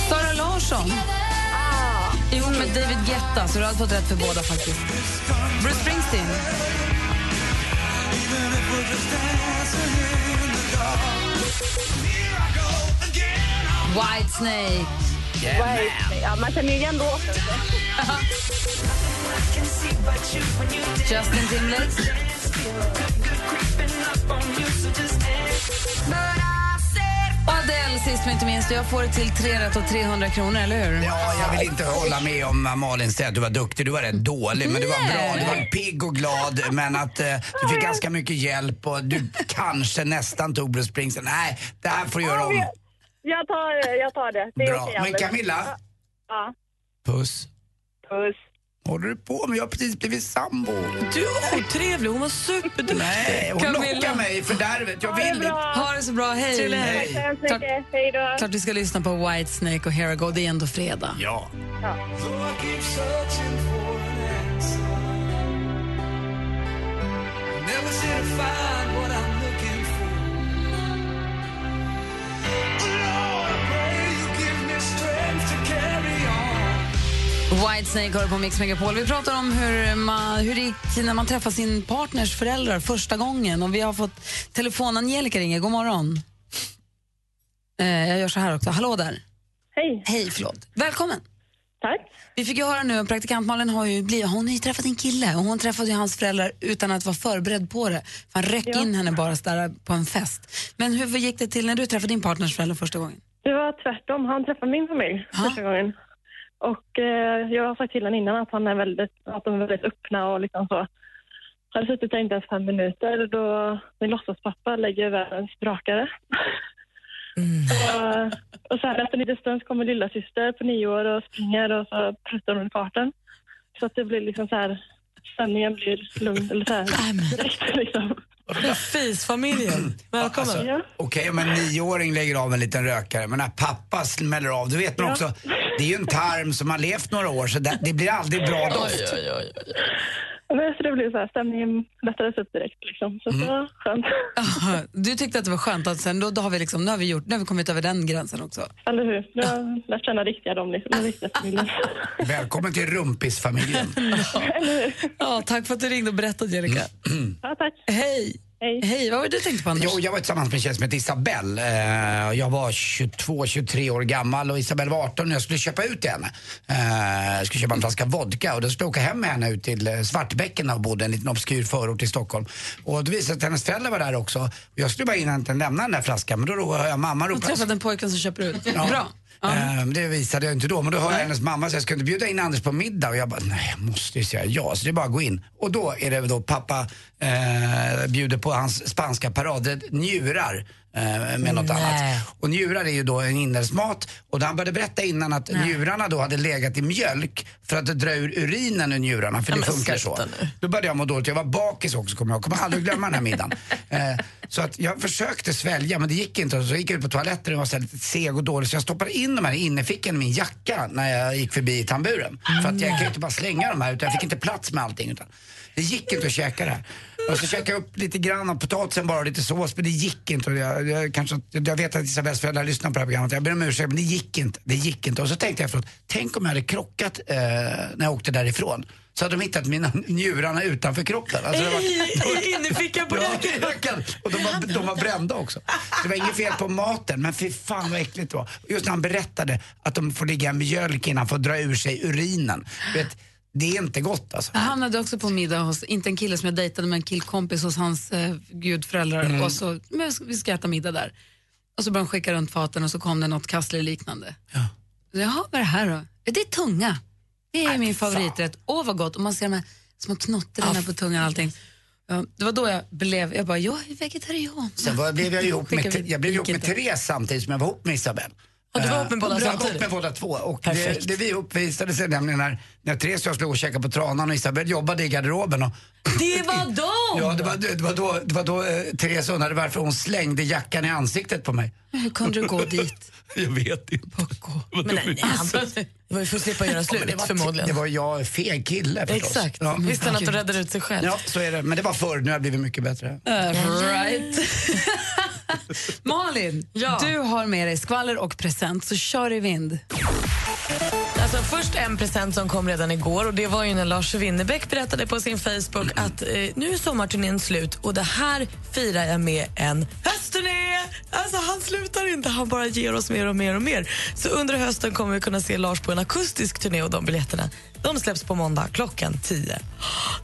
Sara Larsson. Ihop med David Guetta, så du har fått rätt för båda faktiskt. Bruce Springsteen. Whitesnake.
Vad är det? Ja, man känner ju igen låten.
Justin Timberlake. Adele, sist men inte minst. Jag får det till tre rätt och 300 kronor, eller hur?
Ja, jag vill inte hålla med om vad Malin säger att du var duktig. Du var rätt dålig, men du var bra. Du var pigg och glad, men att eh, du fick ganska mycket hjälp och du kanske nästan tog Bruce Springsteen. Nej, det här får du göra om.
Jag tar, jag tar det. det är
Bra.
okej,
Men
Anders.
Camilla?
Ja.
Puss.
Puss.
håller du på med? Jag har precis blivit sambo.
Du är otrevlig, hon var superduktig.
Nej, hon lockar mig i fördärvet. Jag vill inte.
Ha det så bra, hej!
Trevlig helg.
Tack så hemskt
Klart-
mycket. Hej då.
Klart vi ska lyssna på Whitesnake och Here I Go. Det är ändå fredag.
Ja.
Whitesnake hör på Mix Megapol. Vi pratar om hur, man, hur det gick när man träffar sin partners föräldrar första gången. Och vi har fått telefon. Angelica ringer. God morgon. Eh, jag gör så här också. Hallå där.
Hej.
Hej, förlåt. Välkommen.
Tack.
Vi fick ju höra nu, praktikant Malin har ju, blivit, hon har ju träffat en kille och hon träffade ju hans föräldrar utan att vara förberedd på det. För Han röck in henne bara sådär på en fest. Men hur gick det till när du träffade din partners föräldrar första gången?
Det var tvärtom. Han träffade min familj första gången. Och eh, jag har sagt till honom innan att, han är väldigt, att de är väldigt öppna och liksom så. Hade suttit där inte ens fem minuter då min låtsaspappa lägger världens brakare. och, och sen efter en liten stund kommer lilla syster på nio år och springer och så pruttar hon i farten. Så att det blir liksom så här, stämningen blir lugn eller så här direkt liksom.
Fisfamiljen, välkommen.
Alltså,
Ja.
Okej om en nioåring lägger av en liten rökare, men när pappa smäller av, då vet man också, det är ju en tarm som har levt några år så det, det blir aldrig bra doft.
Men så det blev så här, stämningen lättades upp direkt liksom. Så det var skönt.
Aha, Du tyckte att det var skönt att sen då, då har vi liksom, nu har vi gjort, nu har vi kommit över den gränsen också.
Eller hur? Nu har jag lärt känna riktiga dem, liksom, den riktiga familjen.
Välkommen till rumpisfamiljen.
Ja, tack för att du ringde och berättade Angelica.
Ja, tack.
Hej!
Hej.
Hej, vad var det du tänkte på Anders?
Mm. Jo, jag var tillsammans med en tjej som hette Isabelle. Eh, Jag var 22-23 år gammal och Isabelle var 18 när jag skulle köpa ut till henne. Eh, Jag skulle köpa en flaska vodka och då skulle jag åka hem med henne ut till eh, Svartbäcken och bodde i en liten obskyr förort till Stockholm. Och då visade det sig att hennes föräldrar var där också. Jag skulle bara in och inte lämna den där flaskan men då ro- hör jag mamma
Jag
ropa.
träffade en pojkvän som köper ut.
Ja.
Bra.
Eh, men Det visade jag inte då, men då hör jag hennes mamma säga, ska du inte bjuda in Anders på middag? Och jag bara, nej jag måste ju säga ja, så det är bara att gå in. Och då är det då pappa eh, bjuder på hans spanska paradrätt njurar eh, med något
Nej.
annat. Och njurar är ju då en inälvsmat och då han började berätta innan att njurarna då hade legat i mjölk för att dra ur urinen ur njurarna, för
Ja,
det
men
funkar så.
sluta nu.
Då började jag må dåligt, jag var bakis också kommer jag ihåg. kommer aldrig glömma den här middagen. Eh, så att jag försökte svälja men det gick inte. Så gick jag ut på toaletten och var så här lite seg och dålig så jag stoppade in de här i innerfickan i min jacka när jag gick förbi i tamburen. För att jag kan ju inte bara slänga de här utan jag fick inte plats med allting. Utan det gick inte att käka det här. Och så käkade jag upp lite grann av potatisen bara och lite sås men det gick inte. Och jag, jag, kanske, jag vet att Isabells föräldrar lyssnar på det här programmet. Jag ber om ursäkt men det gick inte. Det gick inte. Och så tänkte jag efteråt, tänk om jag hade krockat eh, när jag åkte därifrån. Så hade de hittat mina njurarna utanför kroppen. Alltså, det var-
Innerfickan på
Ja,
jackan.
jackan. Och de var, de var brända också. Så det var inget fel på maten, men fy fan vad äckligt det var. Just när han berättade att de får ligga i mjölk innan för att dra ur sig urinen. Du Vet, det är inte gott alltså.
Jag hamnade också på en middag hos, inte en kille som jag dejtade, men en killkompis hos hans eh, gudföräldrar.
Mm.
Och så, men vi ska äta middag där. Och så började de skicka runt faten och så kom det något kassler liknande.
Ja.
Jaha, vad är det här då? Ja, Det är tunga. Det är min favoriträtt. Åh vad gott. Och man ser de här små knottrarna på tungan och allting. Ja, det var då jag blev, jag bara, jag är vegetarian.
Sen var, blev jag ju ihop
Skickar
med,
vi-
jag blev ihop
gick
med
inte.
Therese samtidigt som jag var ihop med Isabelle.
Och du var
Eh,
ihop med båda
jag var
samtidigt?
ihop med båda två. Och det,
Perfekt.
det vi uppvisade sig nämligen när, när Therese och jag skulle gå och käka på Tranan och Isabelle jobbade i garderoben. Och,
Det var de!
ja, det var, det var då, det var då eh, Therese undrade varför hon slängde jackan i ansiktet på mig.
Hur kunde du gå dit?
Jag vet inte.
Men nej, han, det var ju för att slippa göra
Ja, men
slut
det var-
förmodligen.
Det var jag, fel kille förstås.
Exakt.
Ja.
Visste han att du räddade ut sig själv?
Ja, så är det. Men det var förr, nu har jag blivit mycket bättre.
Uh, right. Malin, du har med dig skvaller och present, så kör i vind.
Alltså, först en present som kom redan igår och det var ju när Lars Winnerbäck berättade på sin Facebook att eh, nu är sommarturnén slut och det här firar jag med en höstturné. Alltså han slutar inte, han bara ger oss mer och mer och mer. Så under hösten kommer vi kunna se Lars på en akustisk turné och de biljetterna de släpps på måndag klockan 10. Det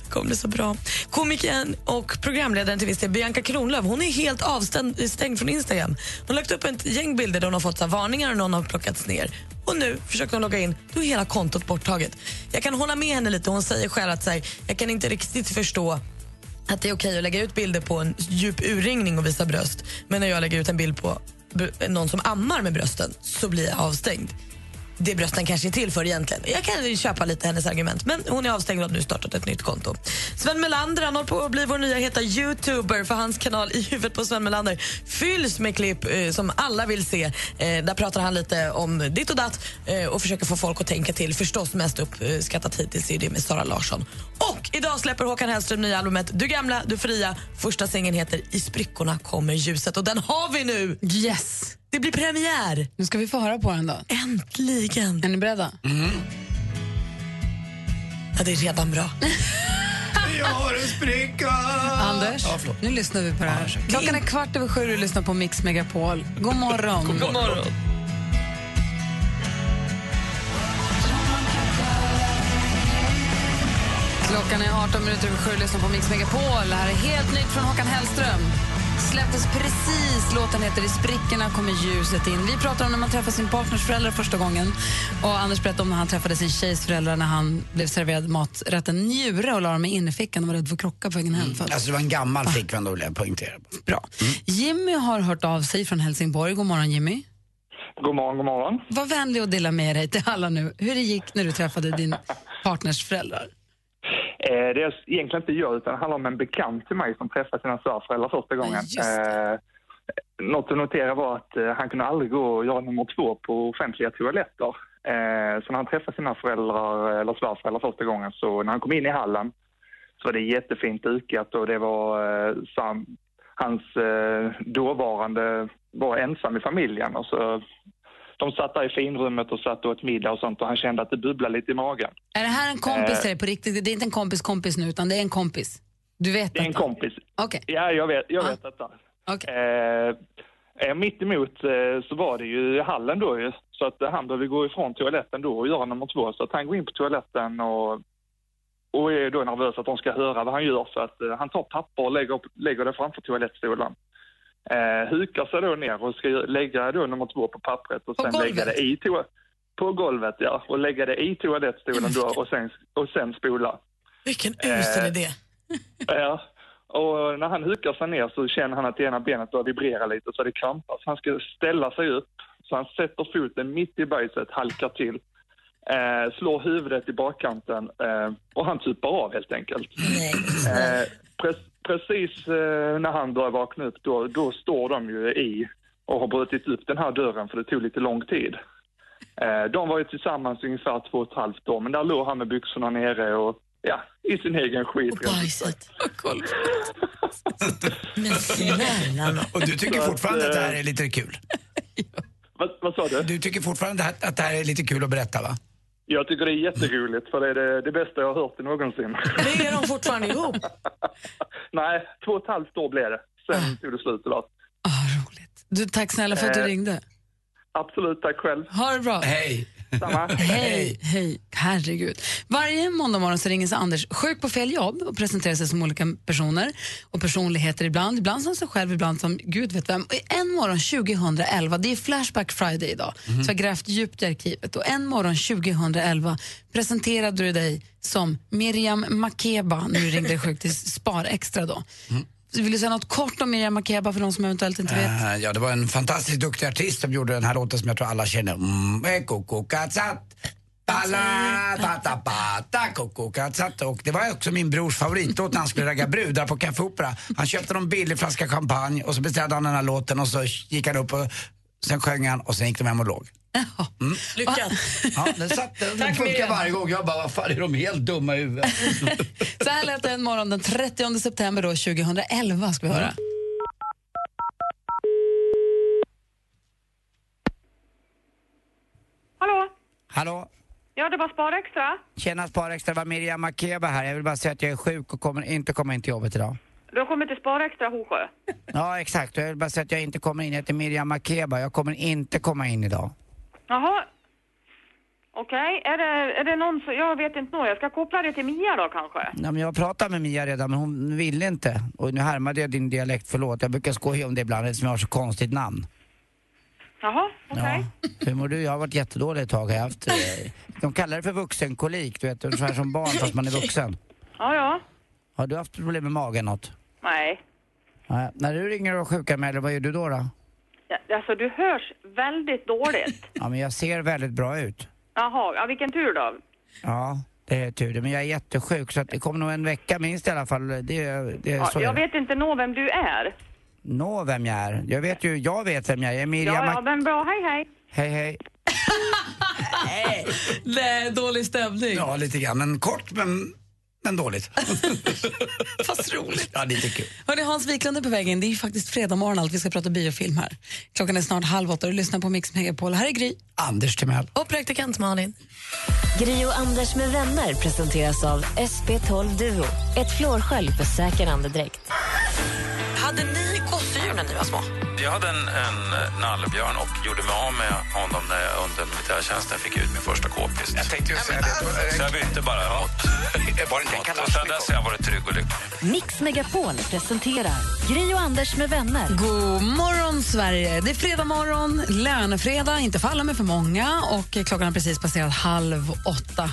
kommer bli så bra. Komikern och programledaren till viss del, Bianca Kronlöf, hon är helt avstängd stängd från Instagram. Hon har lagt upp ett gäng bilder där hon har fått så här, varningar och någon har plockats ner. Och nu försöker hon logga in, då är hela kontot borttaget. Jag kan hålla med henne lite, hon säger själv att så här, jag kan inte riktigt förstå att det är okej att lägga ut bilder på en djup urringning och visa bröst. Men när jag lägger ut en bild på br- någon som ammar med brösten så blir jag avstängd det brösten kanske är till för egentligen. Jag kan ju köpa lite hennes argument, men hon är avstängd och har nu startat ett nytt konto. Sven Melander han håller på att bli vår nya heta youtuber för hans kanal I huvudet på Sven Melander fylls med klipp eh, som alla vill se. Eh, där pratar han lite om ditt och datt eh, och försöker få folk att tänka till. Förstås mest uppskattat hittills är det med Sara Larsson. Och idag släpper Håkan Hellström nya albumet Du gamla, du fria. Första singeln heter I sprickorna kommer ljuset och den har vi nu!
Yes!
Det blir premiär!
Nu ska vi få höra på den då.
Äntligen!
Är ni beredda?
Mm.
Ja, det är redan bra.
Jag har en spricka!
Anders,
Ja, förlåt.
nu lyssnar vi på det här. Klockan är kvart över sju och du lyssnar på Mix Megapol. God morgon.
God morgon.
Klockan är 18 minuter över sju och lyssnar på Mix Megapol. Det här är helt nytt från Håkan Hellström. Släpptes precis. Låten heter I sprickorna kommer ljuset in. Vi pratar om när man träffar sin partners föräldrar första gången. Och Anders berättade om när han träffade sin tjejs föräldrar när han blev serverad maträtten njure och la dem i innerfickan och var rädd för att krocka på vägen hem. För att-
Alltså det var en gammal
Ah.
flickvän då vill jag poängtera.
Bra. Jimmy har hört av sig från Helsingborg. God morgon, Jimmy.
God morgon, god morgon.
Var vänlig och dela med dig till alla nu hur det gick när du träffade din partners föräldrar.
Eh, det är egentligen inte jag, utan det handlar om en bekant till mig som träffade sina svärföräldrar första gången. Eh, något att notera var att eh, han kunde aldrig gå och göra nummer två på offentliga toaletter. Eh, så när han träffade sina föräldrar, eller svärföräldrar första gången, så när han kom in i hallen så var det jättefint dukat och det var eh, sam, hans eh, dåvarande var ensam i familjen. Och så, de satt där i finrummet och satt och åt middag och sånt och han kände att det bubblade lite i magen.
Är det här en kompis
Eh.
till dig på riktigt? Det är inte en kompis kompis nu, utan det är en kompis. Du vet
Det är en kompis.
Okej.
Ja, jag vet, jag vet detta.
Okay.
Eh, eh, mitt emot eh, så var det ju hallen då ju. Så att eh, han behöver gå ifrån toaletten då och göra nummer två. Så att han går in på toaletten och, och är då nervös att de ska höra vad han gör. Så att eh, han tar papper och lägger, upp, lägger det framför toalettstolen. Eh, hukar sig då ner och ska ju lägga då nummer två på pappret och sen lägga det i toa- på golvet ja, och lägga det i toalettstolen då och sen, och sen spola.
Vilken
Eh,
usel idé.
Ja. Och när han hukar sig ner så känner han att ena benet börjar vibrera lite så det krampar. Så han ska ställa sig upp. Så han sätter foten mitt i bajset, halkar till. Eh, slår huvudet i bakkanten eh, och han tupar av helt enkelt. Eh, pre- precis eh, när han börjar vakna upp då, då står de ju i och har brutit upp den här dörren för det tog lite lång tid. Eh, de var ju tillsammans ungefär två och ett halvt år men där låg han med byxorna nere och ja, i sin egen skit. rent ut sagt.
Och du tycker
Så
fortfarande att det här
eh,
är lite kul?
Vad, sa du?
Du tycker fortfarande att- att det här är lite kul att berätta va?
Jag tycker det är jätteroligt för det är det, det bästa jag har hört någonsin.
Men är de fortfarande ihop?
Nej, två och ett halvt år blev det.
Ah.
Sen tog det slut tyvärr.
Du, tack snälla för att du
Eh.
ringde.
Absolut, tack själv.
Ha det bra.
Hej.
Samma.
Hej, hej, herregud. Varje måndag morgon så ringer sig Anders sjuk på fel jobb och presenterar sig som olika personer och personligheter ibland, ibland som sig själv, ibland som gud vet vem. Och en morgon 2011, det är Flashback Friday idag,
Mhm.
så jag har grävt djupt i arkivet och en morgon 2011 presenterade du dig som Miriam Makeba när du ringde sjuk till Spar Extra då.
Mm.
Så Vill du säga något kort om Miriam Makeba för de som eventuellt inte vet?
Eh, ja, det var en fantastiskt duktig artist som gjorde den här låten som jag tror alla känner. Mm, eh, koko katsat. Balla, tata, bata, koko, katsat. Och det var också min brors favoritlåt när han skulle ragga brudar på Café Opera. Han köpte någon billig flaska champagne och så beställde han den här låten och så gick han upp och sen sjöng han och sen gick de hem och låg. Mm.
Lyckat.
Ja, den satt, den
Tack,
funkar
Miriam.
varje gång. Jag bara, vad fan är de helt dumma i huvudet?
Så här lät det en morgon den 30 september då, 2011 ska vi höra.
Hallå?
Hallå?
Ja, det var Spar Extra.
Tjena Sparextra, det var Miriam Makeba här. Jag vill bara säga att jag är sjuk och kommer inte komma in till jobbet idag.
Du har kommit till Spar Extra Hosjö.
Ja, exakt. Jag vill bara säga att jag inte kommer in. Jag heter Miriam Makeba. Jag kommer inte komma in idag.
Jaha. Okej, är, det, är det någon som... Jag vet inte nog. Jag ska koppla det till Mia då kanske.
Ja, men jag pratade med Mia redan, men hon ville inte. Och nu härmade jag din dialekt, förlåt. Jag brukar skoja om det ibland eftersom jag har så konstigt namn.
Jaha, okej.
Hur mår du? Jag har varit jättedålig ett tag. Jag har haft, eh, de kallar det för vuxenkolik, du vet. Ungefär som barn fast man är vuxen.
Ja, ja.
Har du haft problem med magen något?
Nej.
Nej. När du ringer och sjukanmäler, vad gör du då? då?
Ja, Alltså, du hörs väldigt dåligt.
Ja, men jag ser väldigt bra ut.
Jaha, ja, vilken tur då.
Ja, det är tur det. Men jag är jättesjuk så att det kommer nog en vecka minst i alla fall. Det, det är
Ja,
så
jag
är det.
vet inte nog vem du är.
Nå, vem jag är. Jag vet ju, jag vet vem jag är. Miriam
Ja,
Mac-
ja, men bra. Hej, hej.
Hej, hej.
Nej, dålig stämning.
Ja, lite grann. Men kort, men, men dåligt.
Fast roligt.
Ja, lite kul.
Hörrni, Hans Wiklund är på väg in. Det är ju faktiskt fredag morgon allt. Vi ska prata biofilm här. Klockan är snart halv åtta och du lyssnar på Mix Megapol. Här är Gry.
Anders Timell.
Och praktikant Malin. Gri och Anders med vänner presenteras av SP12 Duo. Ett flårskölj för säker andedräkt.
Hade ni gosedjur när ni var små?
Jag hade en, en nallebjörn och gjorde mig av med honom när jag under militärtjänsten fick ut min första k-pist. Jag tänkte just säga det. Så jag bytte bara mot. Var det inte Och sen dess har jag varit trygg och lycklig.
Mix Megapol presenterar Gri och Anders med vänner.
God morgon, Sverige! Det är fredag morgon, lönefredag, inte för alla men för många. Och eh, klockan har precis passerat halv åtta.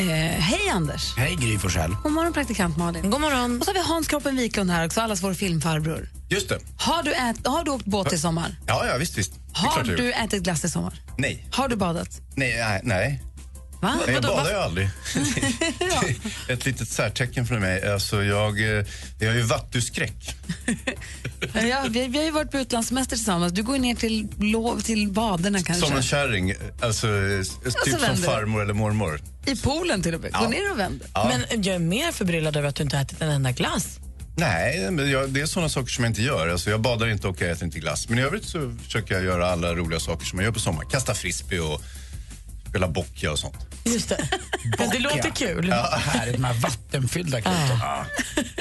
Eh, hej, Anders!
Hej, Gry Forssell.
God morgon, praktikant Malin. God morgon. Och så har vi Hans Kroppen Wiklund här också, allas vår filmfarbror.
Just det.
Har du, ät, har du åkt båt i sommar?
Ja, ja visst, visst. Det är
Har
klart jag
du
gjort.
ätit glass i sommar?
Nej.
Har du badat?
Nej, nej, nej.
Va?
Men jag
Vadå,
badar
va?
ju aldrig. Ett litet särtecken för mig. Alltså, jag, eh, jag har ju vattuskräck.
Ja, vi, vi har ju varit på utlandssemester tillsammans. Du går ju ner till, lov, till baderna kanske.
Som en kärring. Alltså, eh, typ som
vänder du.
farmor eller mormor.
I poolen till och med.
Gå Ja. ner och
vänd.
Ja.
Men jag är mer förbryllad över att du inte har ätit en enda glass.
Nej, men jag, det är såna saker som jag inte gör. Alltså, jag badar inte och jag äter inte glass. Men i övrigt så försöker jag göra alla roliga saker som man gör på sommaren. Kasta frisbee och spela bocka och sånt.
Just det. Men det låter kul.
Ja.
Härligt, de här vattenfyllda kluten.
Ah.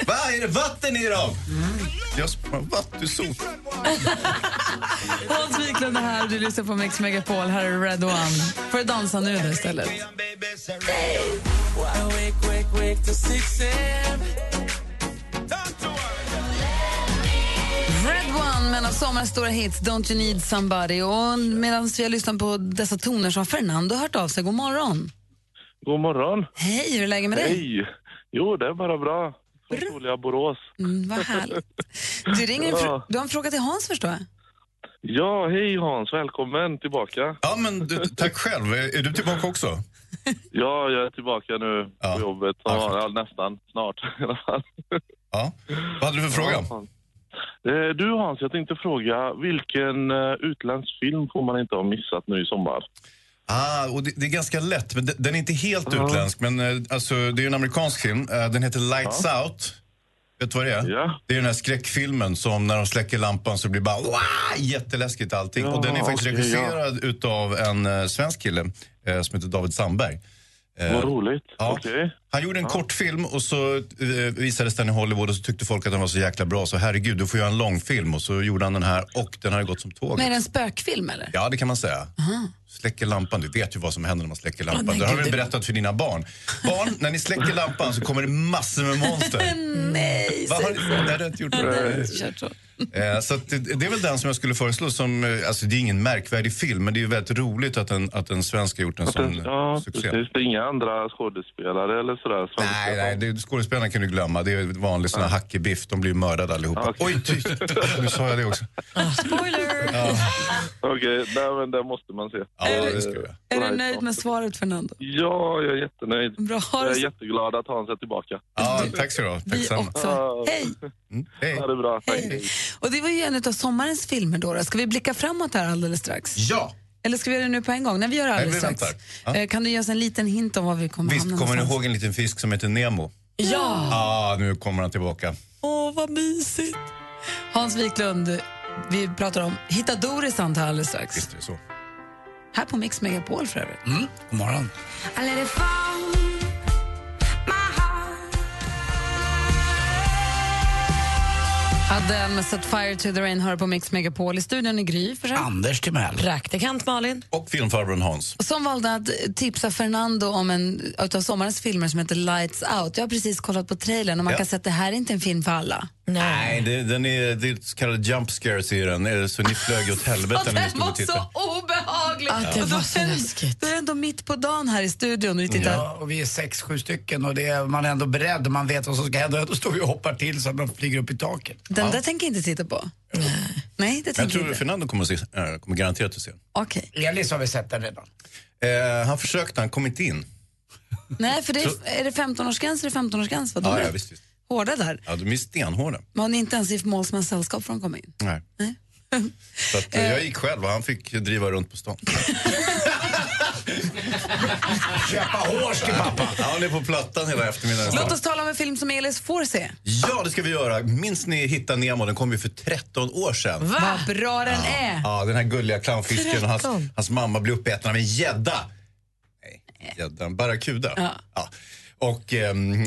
Va, är det vatten i dem?
Mm.
Jag spar vattensot.
Hans Wiklund är här, du lyssnar på Mix Megapol. Här är Red One. Får du dansa nu då istället? Red One med en av sommarens stora hits, Don't You Need Somebody. Och medan vi har lyssnat på dessa toner så har Fernando hört av sig. God morgon.
God morgon.
Hej, hur är läget med dig?
Hej. Jo, det är bara bra. Från soliga Borås.
Mm, vad härligt. Du, ringer en fr-
Ja.
du har en fråga till Hans förstår jag.
Ja, hej Hans. Välkommen tillbaka.
Ja, men du, tack själv. Är är du tillbaka också?
Ja, jag är tillbaka nu på jobbet. Ja, ja, nästan. Snart i alla fall.
Ja. Vad hade du för fråga?
Hans. Eh, Du Hans, jag tänkte fråga vilken eh, utländsk film får man inte ha missat nu i sommar?
Ah, och det, det är ganska lätt. Men de- den är inte helt utländsk, men eh, alltså, det är ju en amerikansk film. Eh, Den heter Lights Out. Vet du vad det är? Det är den här skräckfilmen som när de släcker lampan så blir bara wow, jätteläskigt allting.
Ja,
och den är faktiskt
okej, ja.
regisserad utav en eh, svensk kille eh, som heter David Sandberg. Eh,
Vad roligt.
Ja.
Okej.
Han gjorde en kortfilm och så eh, visades den i Hollywood och så tyckte folk att den var så jäkla bra så herregud, du får göra en långfilm. Och så gjorde han den här och den har gått som tåget.
Men är det en spökfilm eller?
Ja, det kan man säga. Släcker lampan. Du vet ju vad som händer när man släcker lampan.
men
det har
gud,
du
det-
berättat för dina barn. Barn, när ni släcker lampan så kommer det massor med monster.
Nej,
Vad har ni- Nej, det har jag inte gjort. Eh, Så att det, det är väl den som jag skulle föreslå. Som, eh, alltså, det är ingen märkvärdig film, men det är ju väldigt roligt att en, att en svensk har gjort en
Att den-
sån
ja,
succé.
precis. Det är inga andra skådespelare eller sådär?
Nej, nej det, skådespelarna kan du glömma. Det är ju vanlig sån här hackebiff. De blir ju mördade allihopa. Oj, ty, nu sa jag det också.
Spoiler!
Okej, nej men det måste man se. Eh,
Ja, det ska jag.
Är du nöjd med svaret Fernando?
Ja, jag är jättenöjd.
Bra, ha
jag
det
är
så-
jätteglad att Hans är tillbaka.
Ja, tack så du ha.
Vi också. Hej!
Hej.
Ha det bra. Hej.
Och det var ju en av sommarens filmer då. då. Ska vi blicka framåt här alldeles strax?
Ja!
Eller ska vi göra det nu på en gång? Nej, vi gör det alldeles
vi
strax.
väntar. Ja.
Eh, Kan du ge oss en liten hint om var vi kommer
Visst
hamna
kommer ni
någonstans?
ihåg en liten fisk som heter Nemo?
Ja!
Ja, nu kommer han tillbaka.
Åh, vad mysigt! Hans Wiklund, vi pratar om Hitta Doris antar jag alldeles strax. Visst
är det så.
Här på Mix Megapol för övrigt.
Mm, god morgon.
I let it fall.
Adele med Set Fire to the Rain hör på Mix Megapol. I studion i Gry för sig.
Anders Timell.
Praktikant Malin.
Och filmfarbrorn Hans.
Som valde att tipsa Fernando om en av sommarens filmer som heter Lights Out. Jag har precis kollat på trailern och man
Ja.
kan se att det här är inte en film för alla.
Nej, det, den är, det är så kallade jump scares i den. Eh, Så ni flög ju åt helvete när ni stod och tittade.
obehagligt!
Ja. Det var så
läskigt. Då är det ändå mitt på dagen här i studion och vi tittar.
Ja, och vi är sex, sju stycken och det är, man är ändå beredd och man vet vad som ska hända. Då står vi och hoppar till så att man flyger upp i taket.
Den där tänker jag inte titta på. Nej, det
Jag
tänker jag
tror
inte.
Fernando kommer, att se, eh, kommer garanterat att se den.
Okej.
Elis har vi sett den redan.
Eh, han försökte, han kom inte in.
Nej, för det
Så-
är, är det 15-årsgräns är det 15-årsgräns. Vad
Ja,
de
ja,
är
visst, visst.
hårda där.
Ja, de är stenhårda.
Man är inte ens i målsmäns sällskap för att komma in.
Nej. Så att, eh, jag gick själv och han fick driva runt på stan.
Köpa hårs till pappa.
Ja, han är på plattan hela eftermiddagen.
Låt oss tala om en film som Elis får se.
Ja, det ska vi göra. Minns ni Hitta Nemo? Den kom ju för 13 år sedan.
Vad bra den är.
Ja, den här gulliga clownfisken och hans,
13.
hans mamma blir uppäten av en gädda. Nej, gädda, en barracuda. Ja. Och, ehm,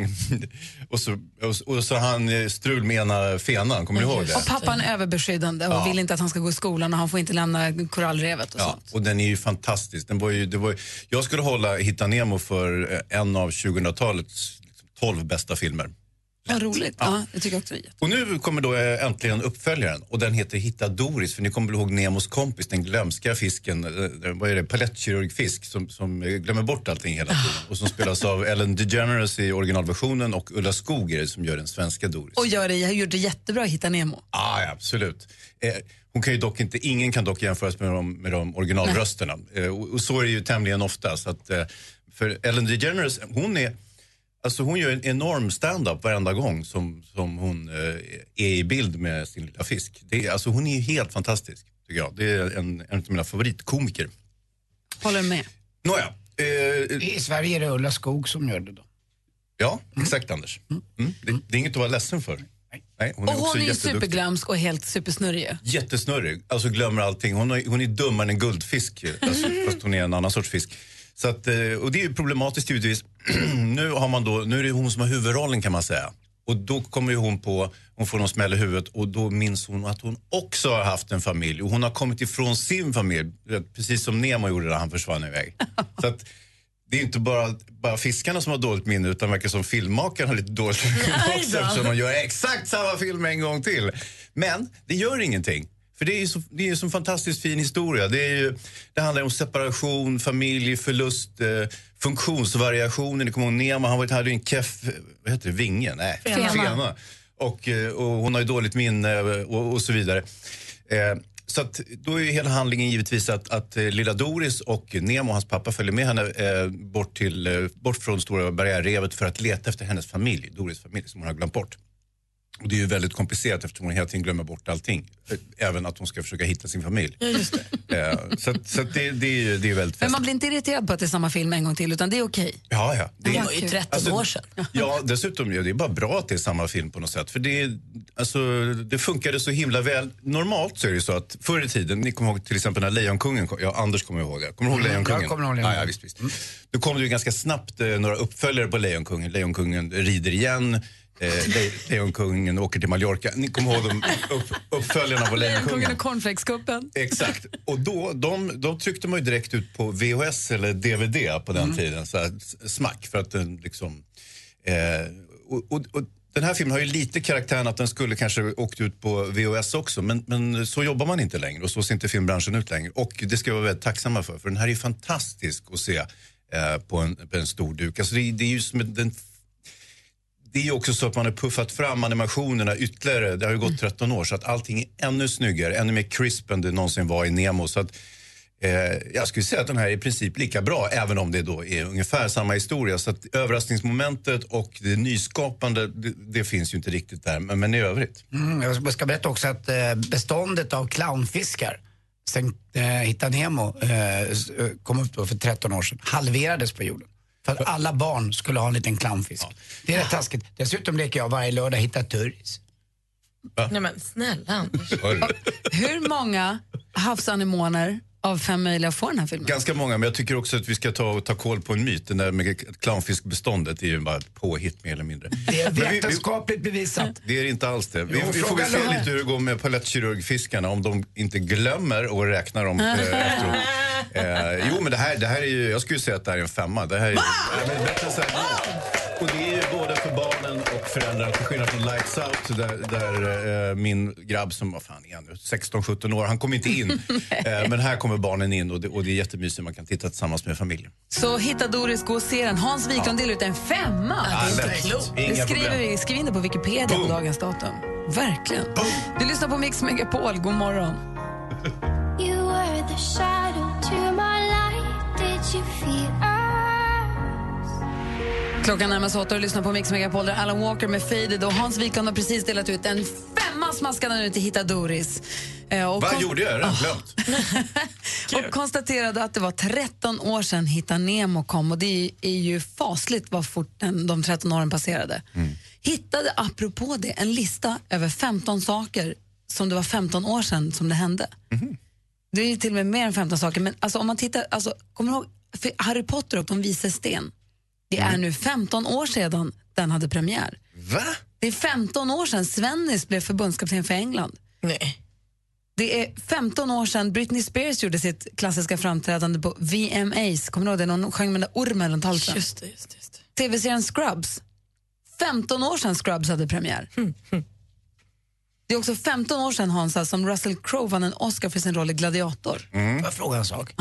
och, så, och, så- och så han eh, strul med ena fenan, kommer ni ihåg det?
Och pappan är överbeskyddande och
Ja.
vill inte att han ska gå i skolan och han får inte lämna korallrevet. Och så.
Ja, och den är ju fantastisk. Den var ju, det var ju, jag skulle hålla Hitta Nemo för eh, en av 2000-talets liksom, 12 bästa filmer.
Vad roligt. Ja. jag tycker också det är jätte-
Och nu kommer då eh, äntligen uppföljaren och den heter Hitta Doris för ni kommer väl ihåg Nemos kompis, den glömska fisken, eh, vad är det, palettkirurgfisk som, som eh, glömmer bort allting hela tiden och som spelas av Ellen DeGeneres i originalversionen och Ulla Skoog är det som gör den svenska Doris.
Och gör det, jag gjorde det jättebra i Hitta Nemo.
Ah, ja, absolut. Eh, hon kan ju dock inte, ingen kan dock jämföras med de, med de originalrösterna. Eh, och, och så är det ju tämligen ofta. Så att, eh, för Ellen DeGeneres, hon är... Alltså hon gör en enorm stand-up varenda gång som, som hon eh, är i bild med sin lilla fisk. Det är, alltså hon är ju helt fantastisk, tycker jag. Det är en, en av mina favoritkomiker.
Håller med.
Nåja. Eh,
I Sverige är det Ulla Skog som gör det då.
Ja, exakt Anders. Mm. Det, det är inget att vara ledsen för. Nej, hon är
och
också
hon är ju
jätteduktig.
superglömsk och helt supersnurrig.
Jättesnurrig, alltså glömmer allting. Hon, har, hon är dummare än en guldfisk ju. alltså, fast hon är en annan sorts fisk. Så att, eh, och det är ju problematiskt givetvis. nu, har man då, nu är det hon som har huvudrollen kan man säga. Och då kommer ju hon på, hon får någon smäll i huvudet och då minns hon att hon också har haft en familj. Och hon har kommit ifrån sin familj, du vet, precis som Nemo gjorde när han försvann iväg. Så att, det är inte bara, bara fiskarna som har dåligt minne utan verkar som filmmakaren har lite dåligt minne
Aj
också
då.
eftersom de gör exakt samma film en gång till. Men det gör ingenting. För det är ju så, det är ju så en fantastiskt fin historia. Det, är ju, det handlar om separation, familj, förlust, eh, funktionsvariationer. Ni kommer ihåg Nemo, han var- hade ju en keff, vad heter det, vinge? Nej,
Fena.
fena. Och, eh, och hon har ju dåligt minne och, och så vidare. Eh, så att, då är ju hela handlingen givetvis att, att eh, lilla Doris och Nemo, hans pappa, följer med henne eh, bort, till, eh, bort från Stora barriärrevet för att leta efter hennes familj, Doris familj, som hon har glömt bort. Och det är ju väldigt komplicerat eftersom hon hela tiden glömmer bort allting. Eh, Även att hon ska försöka hitta sin familj. Eh, så att, så att det, det, är ju, det är väldigt
Men
festligt.
man blir inte irriterad på att det är samma film en gång till, utan det är okej.
Ja, ja. Alltså,
Det var ju 13 år sedan.
Ja, dessutom ja, det är bara bra att det är samma film på något sätt. För det, alltså, det funkade så himla väl. Normalt så är det ju så att förr i tiden, ni kommer ihåg till exempel när Lejonkungen kom, ja Anders kommer ihåg det. Kommer du ihåg
Mm, jag
Lejonkungen?
kommer ihåg
ja,
Lejonkungen.
ja, visst, visst. Då kom det ju ganska snabbt eh, några uppföljare på Lejonkungen. Lejonkungen rider igen. Eh, Le Lejonkungen åker till Mallorca. Ni kommer ihåg de upp, uppföljarna på Lejonkungen?
Lejonkungen och cornflakeskuppen.
Exakt. Och då, de, de tryckte man ju direkt ut på VHS eller DVD på den tiden. Så här, s- smack. För att den liksom... Eh, och, och, och den här filmen har ju lite karaktären att den skulle kanske åkt ut på VHS också. Men, men så jobbar man inte längre och så ser inte filmbranschen ut längre. Och det ska vi vara väldigt tacksamma för. För den här är ju fantastisk att se eh, på, en, på en stor duk. Alltså det, det är ju som en- den det är ju också så att man har puffat fram animationerna ytterligare. Det har ju
Mm.
gått 13 år så att allting är ännu snyggare, ännu mer crisp än det någonsin var i Nemo. Så att, eh, jag skulle säga att den här är i princip lika bra, även om det då är ungefär samma historia. Så att överraskningsmomentet och det nyskapande, det, det finns ju inte riktigt där, men, men i övrigt.
Mm, jag ska- ska berätta också att eh, beståndet av clownfiskar sen eh, Hitta Nemo eh, s- eh, kom upp då för 13 år sedan, halverades på jorden. För att alla barn skulle ha en liten clownfisk. Det är rätt taskigt. Dessutom leker jag varje lördag Hitta Turris.
Nej men snälla Anders.
Hur många havsanemoner av fem möjliga får den här
Mm.
filmen?
Ganska många, men jag tycker också att vi ska ta, ta koll på en myt. Den där med clownfiskbeståndet är ju bara ett påhitt mer eller mindre.
Det är
Men vi- vi-
vetenskapligt bevisat.
Det är det inte alls det. Vi,
Jo,
vi får
fråga
väl se
Lotta.
lite hur det går med palettkirurgfiskarna om de inte glömmer och räknar dem eh, efteråt. Eh, jo, men det här, det här är ju, jag skulle säga att det här är en femma. Det här är, Ja, men bättre än så här. Och det är ju både för barnen och föräldrar, till skillnad från Lights Out där, där eh, min grabb som, vad fan är han nu, 16-17 år, han kom inte in. eh, men här kommer barnen in och det, och det är jättemysigt, man kan titta tillsammans med familjen.
Så hitta Doris, gå och se den. Hans Wiklund delar ut en femma.
Ja, det är inte klokt.
Det
Inga
skriver
problem.
vi, skriv in det på Wikipedia på dagens datum. Verkligen. Du lyssnar på Mix Megapol. God morgon.
You were the shadow to my light. Did you feel us?
Klockan närmar sig åtta och lyssnar på Mix Megapol där Alan Walker med Faded och Hans Wiklund har precis delat ut en femma smaskade nu till Hitta Doris. Eh, och
Vad
kon-
gjorde jag? Jag har redan glömt.
och konstaterade att det var 13 år sedan Hitta Nemo kom och det är ju fasligt vad fort den, de 13 åren passerade. Hittade, apropå det, en lista över 15 saker som det var 15 år sedan som det hände.
Mhm.
Det är ju till och med mer än 15 saker, men alltså, om man tittar, alltså, kommer du ihåg för Harry Potter och de vises sten? Det är
Mm.
nu 15 år sedan den hade premiär.
Va?
Det är 15 år sedan Svennis blev förbundskapten för England.
Nej.
Det är 15 år sedan Britney Spears gjorde sitt klassiska framträdande på VMAs. Kommer du ihåg det? Någon sjöng med den där ormen runt halsen.
Just det, just det, just
TV-serien Scrubs. 15 år sedan Scrubs hade premiär.
Hmm,
Det är också 15 år sedan Hansa som Russell Crowe vann en Oscar för sin roll i Gladiator.
Mm.
Får jag fråga en sak?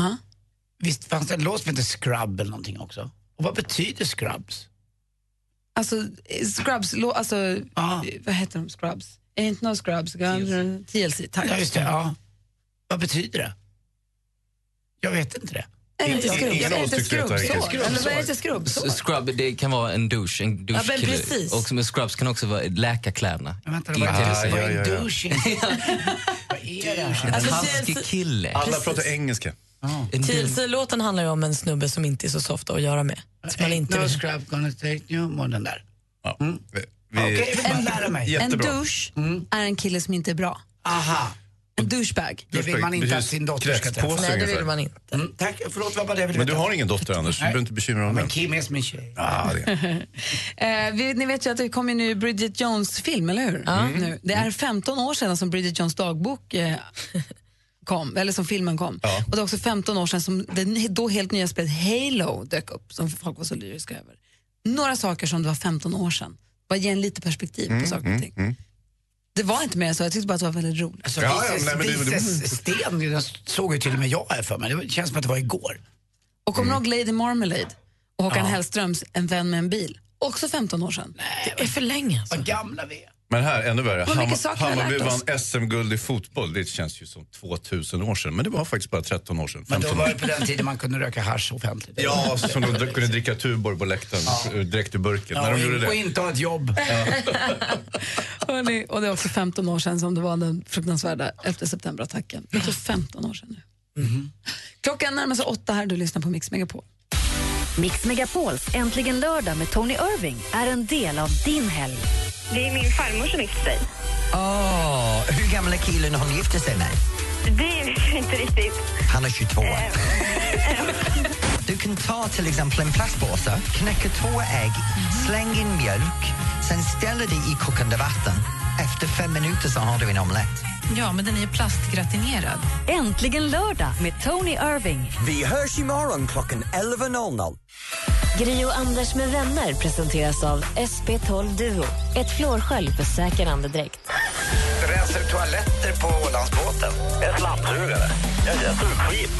Visst fanns det en låt som hette Scrub eller någonting också? Och vad betyder Scrubs?
Alltså eh, Scrubs, lo, alltså,
Ah.
eh, vad heter de Scrubs? Ain't no Scrubs, TLC. TLC tack.
Ja, just det. Ja. Vad betyder det? Jag vet inte det.
Är det inte skrubb?
ingen
Är det
av oss
inte
tyckte detta
skrubbsår?
riktigt.
Eller vad är det skrubbsår?
S- Scrub, det kan vara en douche, en
Ja, men
douchekille.
precis.
och men scrubs kan också vara läka kläderna.
Ja, vänta,
I
vad
till
är-
exempel.
vad är douchen? Vad är det här?
En
Alltså,
taskig
precis.
kille.
Alla Precis. pratar
engelska.
TLC-låten handlar ju om en snubbe som inte är så soft att göra med. Som man inte
No
vill.
scrub gonna take you, och den där.
Ja.
Okej, jag vill bara lära mig.
En douche är en kille som inte är bra.
Mm. Aha.
En douchebag.
Det vill man inte att sin dotter ska träffa.
Kräftpåse ungefär.
inte.
Mm, tack, förlåt vad var det jag ville
Men du
veta?
har ingen dotter Anders, du
Nej.
behöver inte bekymra dig om
Men
den.
Kim är som en tjej.
Ah, det.
Eh, vi, ni vet ju att det kommer nu Bridget Jones-film, eller hur?
Ja. Mm.
Nu. Det är 15 år sedan som Bridget Jones dagbok eh, kom, eller som filmen kom. Och det är också 15 år sedan som det ny- då helt nya spelet Halo dök upp, som folk var så lyriska över. Några saker som det var 15 år sedan. Bara ge en lite perspektiv
Mm,
på saker och ting. Det var inte mer än så, jag tyckte bara att det var väldigt roligt.
Alltså, Vises, Vises sten den såg ju till och med jag här för mig. Det känns som att det var igår.
Och kommer du ihåg Lady Marmalade och Håkan
Ja.
Hellströms En vän med en bil? Också 15 år sedan. det är för länge. Alltså. Vad
gamla vi är.
Men här, ännu värre.
Vad mycket saker vi har
Hammarby
lärt oss.
vann SM-guld i fotboll. Det känns ju som 2000 år sedan, men det var faktiskt bara 13 år sedan.
Men då
15
var
år
det på den tiden man kunde röka hasch offentligt.
Ja, som de kunde dricka Tuborg på läktaren eh, direkt ur burken.
Ja,
När de
och,
gjorde
in,
det.
och inte ha ett jobb.
Hörrni, och det är också 15 år sedan som det var den fruktansvärda 11 september-attacken. Det är också 15 år sedan nu.
Mm-hmm.
Klockan närmar sig åtta här, du lyssnar på Mix Megapol.
Mix Megapols Äntligen lördag med Tony Irving är en del av din helg.
Det är min farmor som gifte sig.
Åh, hur gammal är killen hon gifte sig med?
Det är inte riktigt.
Han är 22.
Äh,
Du kan ta till exempel en plastpåse, knäcka två ägg,
Mm.
släng in mjölk, sen ställer det i kokande vatten. Efter fem minuter så har du en omelett.
Ja, men den är ju plastgratinerad. Äntligen lördag med Tony Irving.
Vi hörs imorgon klockan 11.00.
Gri och Anders med vänner presenteras av SP12 Duo. Ett flårskölj för säker andedräkt.
Rensar du toaletter på Ålandsbåten? En slamsugare? Jag är sugskit.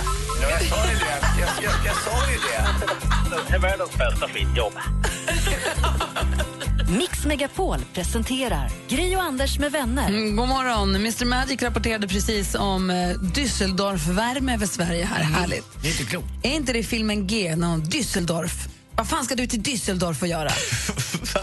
Ja, jag sa ju det. Jag, jag, jag sa ju det. Det är världens bästa skitjobb.
Mix Megapol presenterar Gri och Anders med vänner.
Mm, god morgon. Mr Magic rapporterade precis om eh, Düsseldorf-värme över Sverige här. Härligt.
Det är inte klokt.
Är inte det filmen G, någon Düsseldorf? Vad fan ska du till Düsseldorf och göra?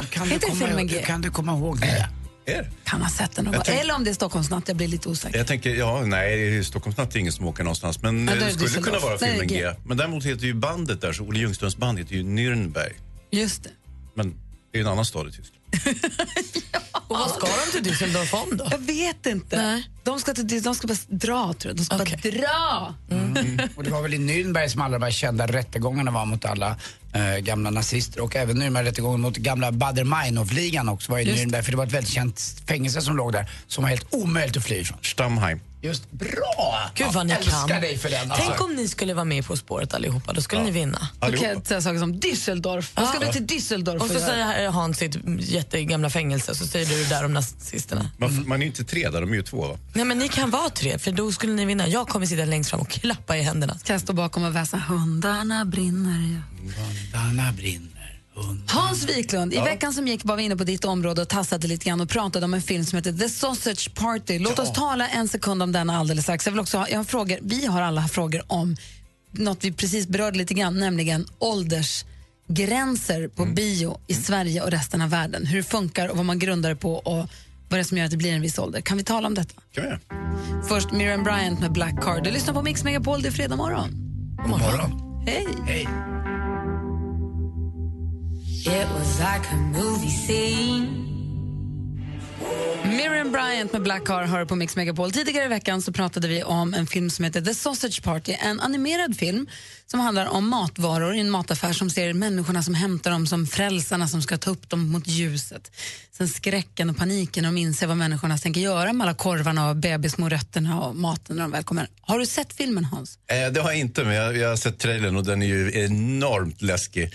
Kan
Är
du,
inte det
komma
filmen
ihåg,
G?
kan du komma ihåg det?
Är?
Kan man sätta någon
Jag tänk-
Eller om det är Stockholmsnatt, jag blir lite osäker.
Jag tänker, ja, nej, Stockholmsnatt är ingen som åker någonstans. Men
Ja,
eh,
då är
det
det
skulle
Düsseldorf.
kunna vara
Nej,
filmen
G.
G. Men däremot heter ju bandet där, så Olle Ljungströms band heter ju Nürnberg.
Just det.
Men det är en annan stad i Tyskland.
Och vad ska de till Düsseldorf om då?
Jag vet inte. De ska, till, de ska bara dra, tror jag. De ska bara dra.
Mm. Och det var väl i Nürnberg som alla de här kända rättegångarna var mot alla eh, gamla nazister och även Nürnbergrättegången mot gamla Bader Meinhof-ligan också var i
Just det.
Nürnberg för det var ett väldigt känt fängelse som låg där som var helt omöjligt att fly ifrån.
Stammheim.
Just bra!
Gud vad ni
Jag älskar
kan.
dig för den. alltså.
Tänk om ni skulle vara med På spåret allihopa, då skulle ni vinna.
Då kan jag säga saker som Düsseldorf. Vad ska du till Düsseldorf
Och så
göra?
säger Hans sitt jättegamla fängelse så säger du det där om nazisterna.
Mm.
Man, man är ju inte tre där, de är ju två va?
Nej men ni kan vara tre för då skulle ni vinna. Jag kommer sitta längst fram och klappa i händerna.
Kan jag stå bakom och väsa hundarna brinner ja.
Hundarna brinner.
Hans Wiklund, i
Ja.
veckan som gick var vi inne på ditt område och tassade lite grann och pratade om en film som heter The Sausage Party. Låt oss tala en sekund om den alldeles strax. Jag vill också ha, jag har frågor, vi har alla frågor om något vi precis berörde lite grann, nämligen åldersgränser på bio i Sverige och resten av världen. Hur det funkar och vad man grundar det på och vad det är som gör att det blir en viss ålder. Kan vi tala om detta?
Kan vi göra.
Först Miriam Bryant med Black Card. Du lyssnar på Mix Megapol, det är fredag morgon.
God morgon.
Hej!
Hej!
It was like a movie scene.
Miriam Bryant med Black Car hör på Mix Megapol. Tidigare i veckan så pratade vi om en film som heter The Sausage Party. En animerad film som handlar om matvaror i en mataffär som ser människorna som hämtar dem som frälsarna som ska ta upp dem mot ljuset. Sen skräcken och paniken och de inser vad människorna tänker göra med alla korvarna och bebismorötterna och maten när de väl kommer. Har du sett filmen Hans?
Eh, det har jag inte, men jag, jag har sett trailern och den är ju enormt läskig.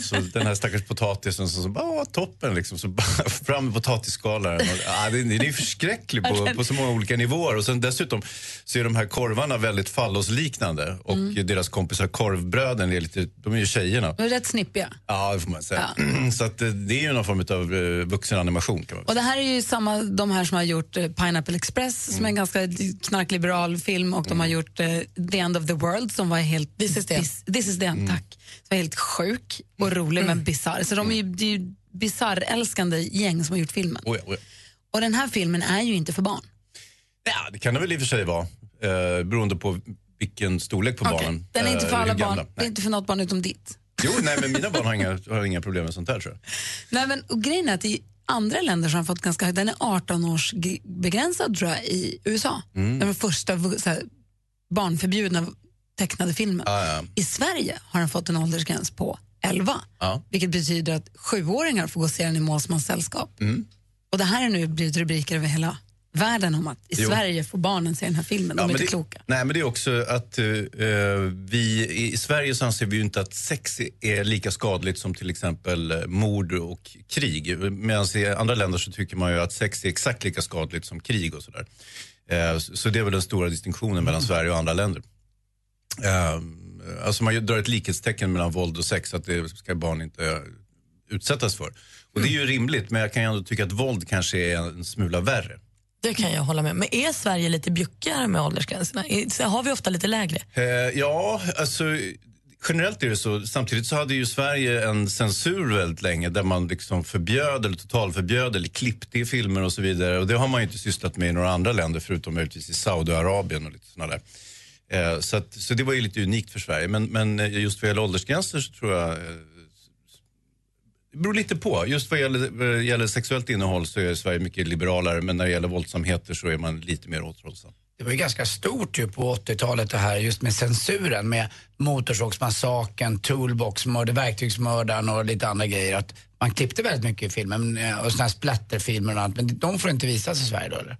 Så den här stackars potatisen som, som bara, "Åh, toppen liksom, så bara fram med potatisskalaren. Och, ah, den, den är ju förskräcklig på, på så många olika nivåer. Och sen dessutom så är de här korvarna väldigt fallosliknande och
Mm.
deras kompisar korvbröden är lite, de är ju tjejerna.
De är rätt snippiga.
Ja, det får man säga. Så att, eh, det är ju någon form av eh, vuxenanimation kan man
Och det här är ju samma, de här som har gjort eh, Pineapple Express som är
Mm.
en ganska knarkliberal film och de har gjort eh, The End of the World som var helt... This is the end. This is the
Mm.
end, tack. Som var helt sjuk och rolig men bisarr. Så de är ju, det är ju bisarrälskande gäng som har gjort filmen.
Mm. Oh ja, oh ja.
Och den här filmen är ju inte för barn.
Ja, det kan det väl i och för sig vara. Eh, beroende på vilken storlek på barnen.
Den är inte
Eh,
för
hur
alla
gamla.
barn, det är inte för något barn utom ditt.
Jo, nej, men mina barn har inga, har inga problem med sånt här tror jag.
Nej, men, och grejen är att det är andra länder som har fått ganska hög. Den är 18 års g- begränsad tror jag i USA.
Mm.
Den var första vu- så här, barnförbjudna tecknade filmen. I Sverige har den fått en åldersgräns på 11.
Ja.
Vilket betyder att sjuåringar får gå och se den i målsmans sällskap.
Mm.
Och det här är nu blivit rubriker över hela världen om att i
Jo.
Sverige får barnen se den här filmen. De är
men
inte
det,
kloka.
Nej, men det är också att eh, eh, vi i Sverige så anser vi ju inte att sex är lika skadligt som till exempel eh, mord och krig. Medan i andra länder så tycker man ju att sex är exakt lika skadligt som krig och sådär. Eh, så, så det är väl den stora distinktionen
Mm.
mellan Sverige och andra länder. Eh, alltså man ju drar ett likhetstecken mellan våld och sex, att det ska barn inte eh, utsättas för. Och det är ju rimligt, men jag kan ju ändå tycka att våld kanske är en smula värre.
Det kan jag hålla med Men är Sverige lite bjuckigare med åldersgränserna? Är- så Har vi ofta lite lägre?
Eh, ja, alltså generellt är det så. Samtidigt så hade ju Sverige en censur väldigt länge där man liksom förbjöd eller totalförbjöd eller klippte i filmer och så vidare. Och det har man ju inte sysslat med i några andra länder förutom möjligtvis i Saudiarabien och lite sådana där. Eh, så, att, så det var ju lite unikt för Sverige. Men, men eh, just vad gäller åldersgränser så tror jag eh, det beror lite på. Just vad gäller, vad gäller sexuellt innehåll så är Sverige mycket liberalare men när det gäller våldsamheter så är man lite mer återhållsam.
Det var ju ganska stort ju på 80-talet det här just med censuren med Motorsågsmassakern, Toolboxmördaren, Verktygsmördaren och lite andra grejer. Att man klippte väldigt mycket i filmen eh, och sådana här splatterfilmer och allt. Men de får inte visas i Sverige då eller?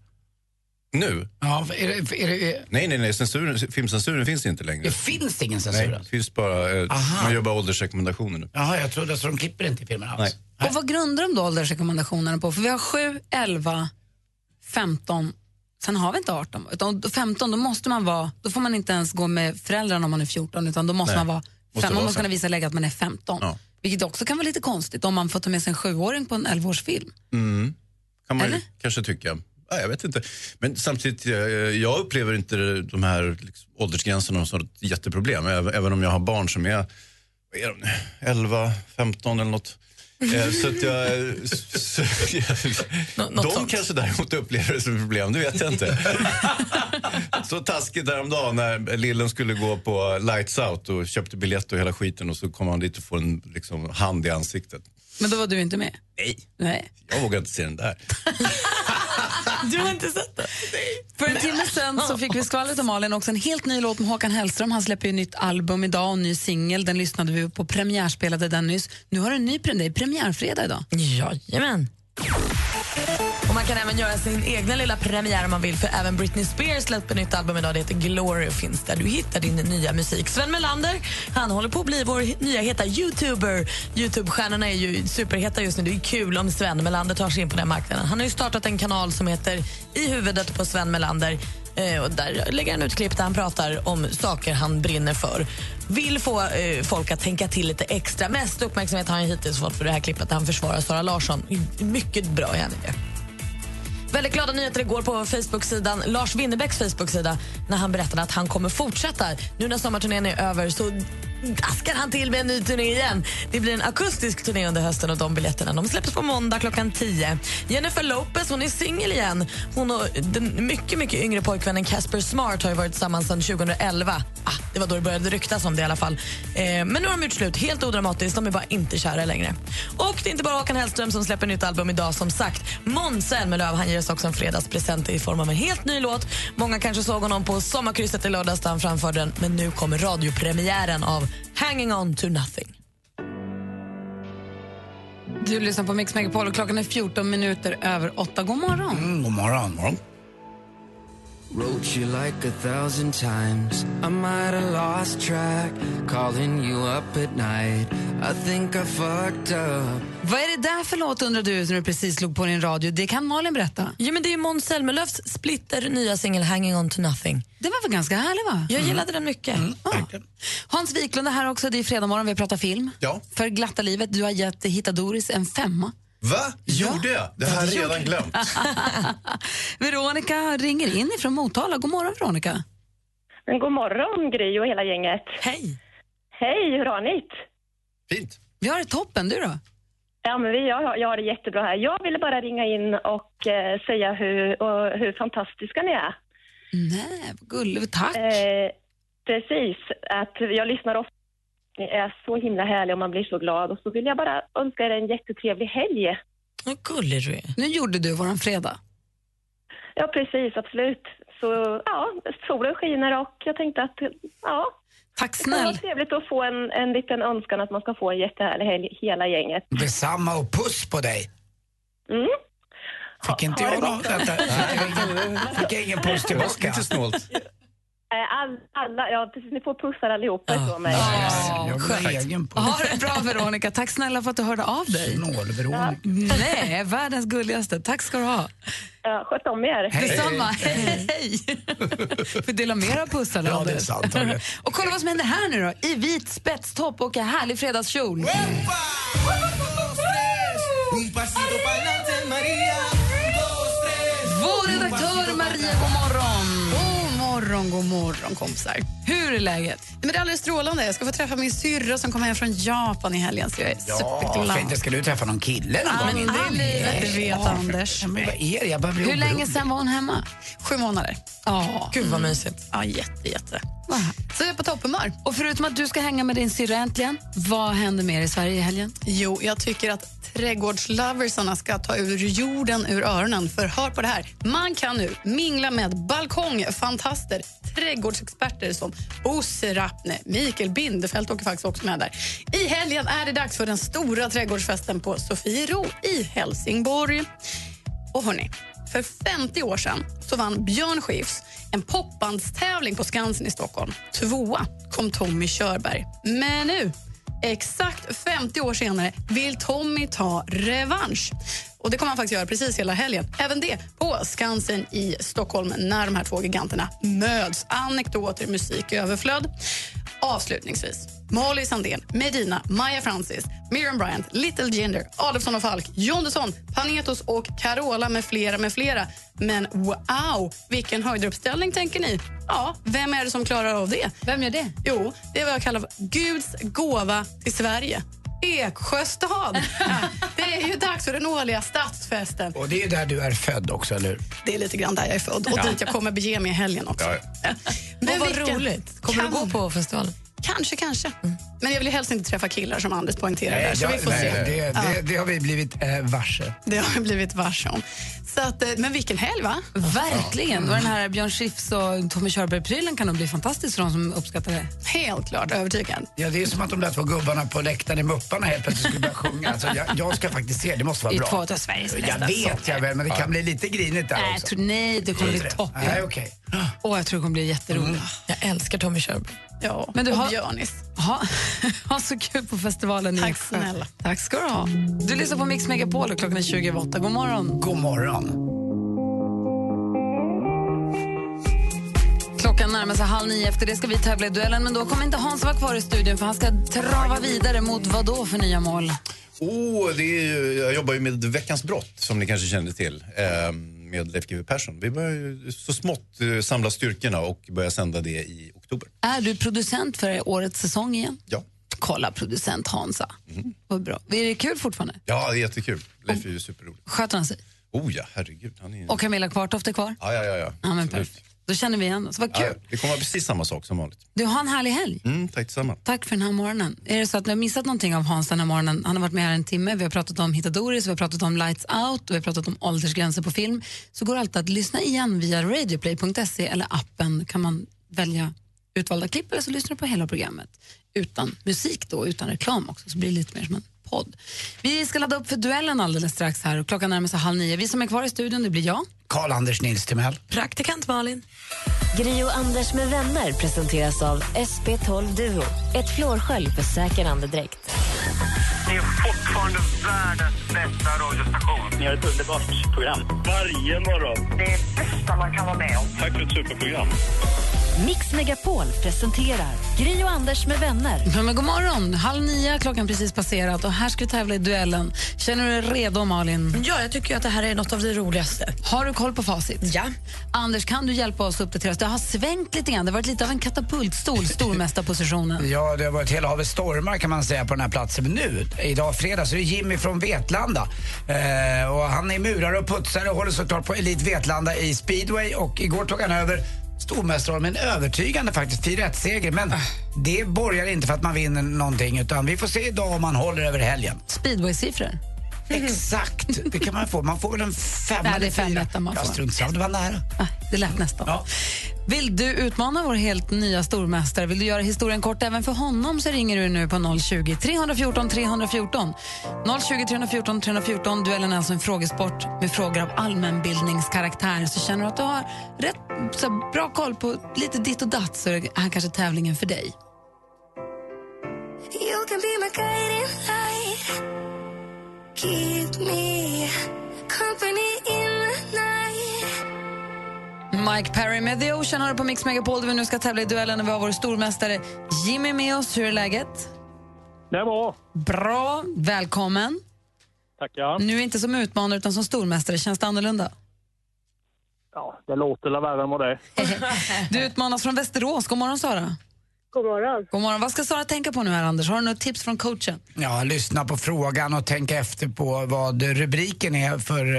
Nu?
Ja, är det, är det,
Nej, nej, nej. Censuren, filmcensuren finns inte längre.
Det finns ingen censur alltså.
Nej, det finns bara, eh,
Aha.
man gör bara åldersrekommendationer nu.
jaha, jag trodde så de klipper inte i filmen alls.
Nej.
Och vad grundar de då åldersrekommendationerna på? För vi har 7, 11, 15, sen har vi inte 18. Utan 15, då måste man vara, då får man inte ens gå med föräldrarna om man är 14, utan då måste
Nej.
man vara,
Måste
fem, man
vara
måste kunna
fem.
visa läge att man är 15.
Ja.
Vilket också kan vara lite konstigt om man får ta med sig en sjuåring på en 11-årsfilm.
Mm. Kan man ju kanske tycka. Ja, jag vet inte. Men samtidigt, eh, jag upplever inte de här liksom, åldersgränserna som ett jätteproblem. Även, även om jag har barn som är, vad är de nu? 11, 15 eller något. Eh, Så att jag... Så, de kanske däremot upplever det som ett problem, det vet jag inte. så taskigt häromdagen när lillen skulle gå på Lights Out och köpte biljett och hela skiten och så kom han dit och får en liksom, hand i ansiktet.
Men då var du inte med?
Nej.
Nej.
Jag vågar inte se den där.
Du har inte sett det? För en timme sen så fick vi skvallret om Malin också en helt ny låt med Håkan Hellström. Han släpper ju nytt album idag och en ny singel. Den lyssnade vi på, premiärspelade den nyss. Nu har du en ny premiär, premiärfredag idag.
Jajamän. Och man kan även göra sin egna lilla premiär om man vill för även Britney Spears släpper nytt album idag. Det heter Glory och finns där du hittar din nya musik. Sven Melander, han håller på att bli vår he- nya heta youtuber. Youtube-stjärnorna är ju superheta just nu. Det är ju kul om Sven Melander tar sig in på den marknaden. Han har ju startat en kanal som heter I huvudet på Sven Melander. Eh, och där lägger han ut klipp där han pratar om saker han brinner för. Vill få eh, folk att tänka till lite extra. Mest uppmärksamhet har han hittills fått för det här klippet där han försvarar Sara Larsson. Mycket bra är han i det. Väldigt glada nyheter igår på Facebook-sidan Lars Winnerbäcks Facebook-sida när han berättade att han kommer fortsätta. Nu när sommarturnén är över så daskar han till med en ny turné igen. Det blir en akustisk turné under hösten och de biljetterna de släpps på måndag klockan 10. Jennifer Lopez hon är singel igen. Hon och den mycket, mycket yngre pojkvännen Casper Smart har ju varit tillsammans sedan 2011. Ah, det var då det började ryktas om det i alla fall. Eh, men nu har de gjort slut, helt odramatiskt. De är bara inte kära längre. Och det är inte bara Håkan Hellström som släpper nytt album idag som sagt. Måns Zelmerlöw han ger oss också en fredagspresent i form av en helt ny låt. Många kanske såg honom på Sommarkrysset i lördags där han framförde den. Men nu kommer radiopremiären av Hanging on to nothing.
Du lyssnar på Mix Megapol och klockan är 14 minuter över 8. God morgon.
Mm, God morgon.
Wrote you like a thousand times. I might have lost track. Calling you up at night. I think I fucked up.
Vad är det där för låt undrar du när du precis slog på din radio? Det kan Malin berätta.
Ja, men det är Måns Zelmerlöws splitter nya singel Hanging on to nothing.
Den var väl ganska härlig va?
Mm.
Jag gillade den mycket.
Hans Wiklund är här också. Det är fredag morgon, vi pratar film.
Ja.
För glatta livet, du har gett Hitta Doris en femma.
Va? Gjorde jag? Det här har jag redan glömt.
Veronica ringer in ifrån Motala. God morgon Veronica.
Men god morgon Gry och hela gänget.
Hej!
Hej, hur har ni det?
Vi har det toppen, du då?
Ja, men vi, jag, har- jag har det jättebra här. Jag ville bara ringa in och eh, säga hur, och, hur fantastiska ni är.
Nej, vad gulligt. Tack.
Eh, precis, att jag lyssnar ofta. Ni är så himla härliga och man blir så glad. Och så vill jag bara önska er en jättetrevlig helg.
Vad gullig du är.
Nu gjorde du våran fredag.
Ja, precis, absolut. Så ja, solen skiner och jag tänkte att ja.
Tack
Det kan vara trevligt att få en, en liten önskan att man ska få en jättehärlig helg, hela gänget.
Detsamma och puss på dig.
Mm.
Fick inte
ha
jag
det
något?
gott.
Vänta, Fick jag ingen- fick jag ingen puss tillbaka? Lite snålt.
Eh, All, alla, ja precis, ni får pussar allihopa ifrån mig.
Jag vill ha egen puss.
Ha det bra, Veronica. Tack snälla för att du hörde av dig.
Snål-Veronica.
Nej, världens gulligaste. Tack ska du ha.
Ja, sköt om er.
Hej.
Detsamma. Hej. hej. Får dela mer av pussar.
Ja,
Anders.
det är sant, hörru.
och kolla vad som händer här nu då. I vit spetstopp och en härlig fredagskjol. Vår redaktör Maria, god morgon.
God morgon, god morgon kompisar.
Hur är läget?
Men det är alldeles strålande. Jag ska få träffa min syrra som kommer hem från Japan i helgen. Så jag är
Ja,
superglad.
ska inte ska du träffa någon kille någon
Ja, men
gång?
det är livet, det vet
Anders. Men vad är det? Jag börjar bli
Hur länge
orolig.
sen var hon hemma? Sju månader. Ja.
Gud vad mysigt.
Ja, jätte, jätte.
Så jag är på topphumör. Och förutom att du ska hänga med din syrra äntligen, vad händer mer i Sverige i helgen?
Jo, jag tycker att trädgårdsloversarna ska ta ur jorden ur öronen. För hör på det här. Man kan nu mingla med balkongfantaster, trädgårdsexperter som Bosse Rappne, Mikael Bindefeld åker faktiskt också med där. I helgen är det dags för den stora trädgårdsfesten på Sofiero i Helsingborg. Och hörni, för 50 år sedan så vann Björn Skifs en popbandstävling på Skansen i Stockholm. Tvåa kom Tommy Körberg. Men nu, exakt 50 år senare, vill Tommy ta revansch. Och Det kommer han faktiskt göra precis hela helgen. Även det på Skansen i Stockholm när de här två giganterna möts. Anekdoter, musik i överflöd. Avslutningsvis, Molly Sandén, Medina, Maya Francis, Miriam Bryant, Little Jinder, Adolfsson och Falk, Jondesson, Panetos och Carola med flera, med flera. Men wow, vilken höjderuppställning tänker ni? Ja, vem är det som klarar av det?
Vem gör det?
Jo, det är vad jag kallar för Guds gåva till Sverige. Eksjö stad! Ja, det är ju dags för den årliga stadsfesten.
Och det är där du är född också, eller hur?
Det är lite grann där jag är född och
Ja.
dit jag kommer bege mig i helgen också.
Ja,
Men
och vad
vilken-
roligt. Kommer du
Kan-
gå på Mm. festivalen?
Kanske, kanske. Men jag vill ju helst inte träffa killar som Anders poängterar där, så
jag-
vi får
nej,
se.
Det,
Ja,
det, det har vi blivit eh, varse.
det har jag blivit varse om. Så att, eh, men vilken helg, va?
Verkligen. Och den här Björn Skifs och Tommy Körberg-prylen kan nog bli fantastisk för de som uppskattar det.
Helt klart övertygad.
Ja, det är som att de där två gubbarna på läktaren i Mupparna helt plötsligt skulle börja sjunga. Alltså, jag, jag ska faktiskt se, det måste vara
Det är
bra.
två av Sveriges bästa
Jag vet
sångare.
jag väl, men det
Ja.
kan bli lite grinigt där
Nej, jag
också.
tror, nej, det kommer bli
Tror du
toppen.
Nej, Mm. okej.
Åh, jag tror det kommer bli jätteroligt.
Jag älskar Tommy Körberg.
Ja,
Men du
och
har-
Björnis.
Ha, ha så kul på festivalen i
Tack
Eksjö.
snälla.
Tack ska du ha. Du lyssnar på Mix Megapol och klockan är 20 över åtta. God morgon.
God morgon.
Klockan närmar sig halv nio. Efter det ska vi tävla i duellen. Men då kommer inte Hans vara kvar i studion för han ska trava vidare mot vad då för nya mål?
Oh, det är ju, jag jobbar ju med Veckans brott, som ni kanske känner till, eh, med Leif GW Persson. Vi börjar ju så smått eh, samla styrkorna och börja sända det i oktober.
Är du producent för årets säsong igen?
Ja.
Kolla producent Hansa. Vad bra. Är det kul fortfarande?
Ja, det är jättekul. Leif är ju superrolig.
Sköter han sig?
Oh ja, herregud. Han är ju...
Och Camilla Kvartoft är kvar?
Ja, ja, ja. ja.
Ja, men
Absolut.
perfekt. Då känner vi igen oss. Vad
Ja,
kul.
det kommer vara precis samma sak som vanligt.
Du, har en härlig helg.
Mm, tack detsamma.
Tack för den här morgonen. Är det så att ni har missat någonting av Hans den här morgonen? Han har varit med här en timme. Vi har pratat om Hitadoris, vi har pratat om Lights Out och vi har pratat om åldersgränser på film. Så går det alltid att lyssna igen via radioplay.se eller appen kan man välja utvalda klipp eller så lyssnar du på hela programmet. Utan musik då, utan reklam också, så blir det lite mer som en podd. Vi ska ladda upp för duellen alldeles strax här och klockan närmar sig halv nio. Vi som är kvar i studion, det blir jag.
Karl-Anders Nils Timell.
Praktikant Malin.
Gri och Anders med vänner presenteras av SP12 Duo. Ett flårskölj för säker andedräkt.
Ni är fortfarande världens bästa radiostation. Ni har ett underbart program. Varje morgon. Det är det bästa man kan vara med om. Tack för ett superprogram.
Mix Megapol presenterar Gri och Anders med vänner.
Ja, men god morgon! Halv nio har klockan precis passerat och här ska vi tävla i duellen. Känner du dig redo, Malin?
Ja, jag tycker att det här är något av det roligaste.
Har du koll på facit? Ja. Anders, kan du hjälpa oss att uppdatera oss? Det har svängt lite grann. Det har varit lite av en katapultstol, stormästarpositionen.
Ja, det har varit hela havet stormar kan man säga på den här platsen. Men nu, idag fredag, så är det Jimmy från Vetlanda. Eh, och han är murare och putsare och håller såklart på Elit Vetlanda i speedway. Och igår tog han över stormästarrollen med en övertygande faktiskt 4 seger Men det borgar inte för att man vinner någonting utan vi får se idag om han håller över helgen.
Speedway-siffror.
Exakt, det kan man få. Man får väl en femma
Nej, det är
eller fyra.
femetta man
Jag
får.
strunt samma, det var nära.
Det lät nästan. Vill du utmana vår helt nya stormästare? Vill du göra historien kort även för honom så ringer du nu på 020-314 314. 020 314 314. Duellen är alltså en frågesport med frågor av allmänbildningskaraktär. Så känner du att du har rätt så här, bra koll på lite ditt och datt så är här kanske tävlingen för dig.
You can be my guiding light. Keep me company in the night.
Mike Perry med The Ocean har du på Mix Megapol där vi nu ska tävla i duellen och vi har vår stormästare Jimmy med oss. Hur är läget?
Det är bra.
Bra. Välkommen.
Tackar. Eh.
Nu inte som utmanare utan som stormästare. Känns det annorlunda?
Ja, det låter la värre än vad det är.
Du utmanas från Västerås. God morgon, Sara. God morgon. God morgon. Vad ska Sara tänka på nu, här, Anders? Har du något tips från coachen?
Ja, lyssna på frågan och tänk efter på vad rubriken är för,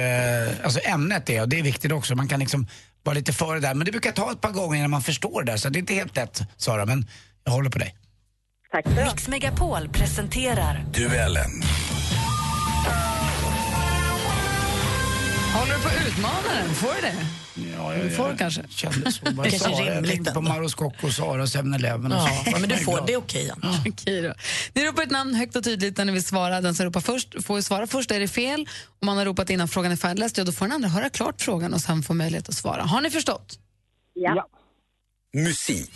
eh, alltså ämnet är. Och det är viktigt också, man kan liksom vara lite före där. Men det brukar ta ett par gånger innan man förstår det, så det är inte helt lätt Sara, men jag håller på dig.
Mix Megapol presenterar
Duellen.
Håller du på att utmana den? Får du det?
Ja,
Du får kanske.
Kände så. Bara
Det känns
Sara. Jag
rimligt
tänkte på Maros Scocco och Sara och 7-Eleven. och så.
Ja, men du får, det är
okej.
Okej då. Ni ropar ett namn högt och tydligt när ni vill svara. Den som ropar först får ju svara först. Är det fel och man har ropat innan frågan är färdigläst, ja, då får den andra höra klart frågan och sen får möjlighet att svara. Har ni förstått?
Ja.
Musik.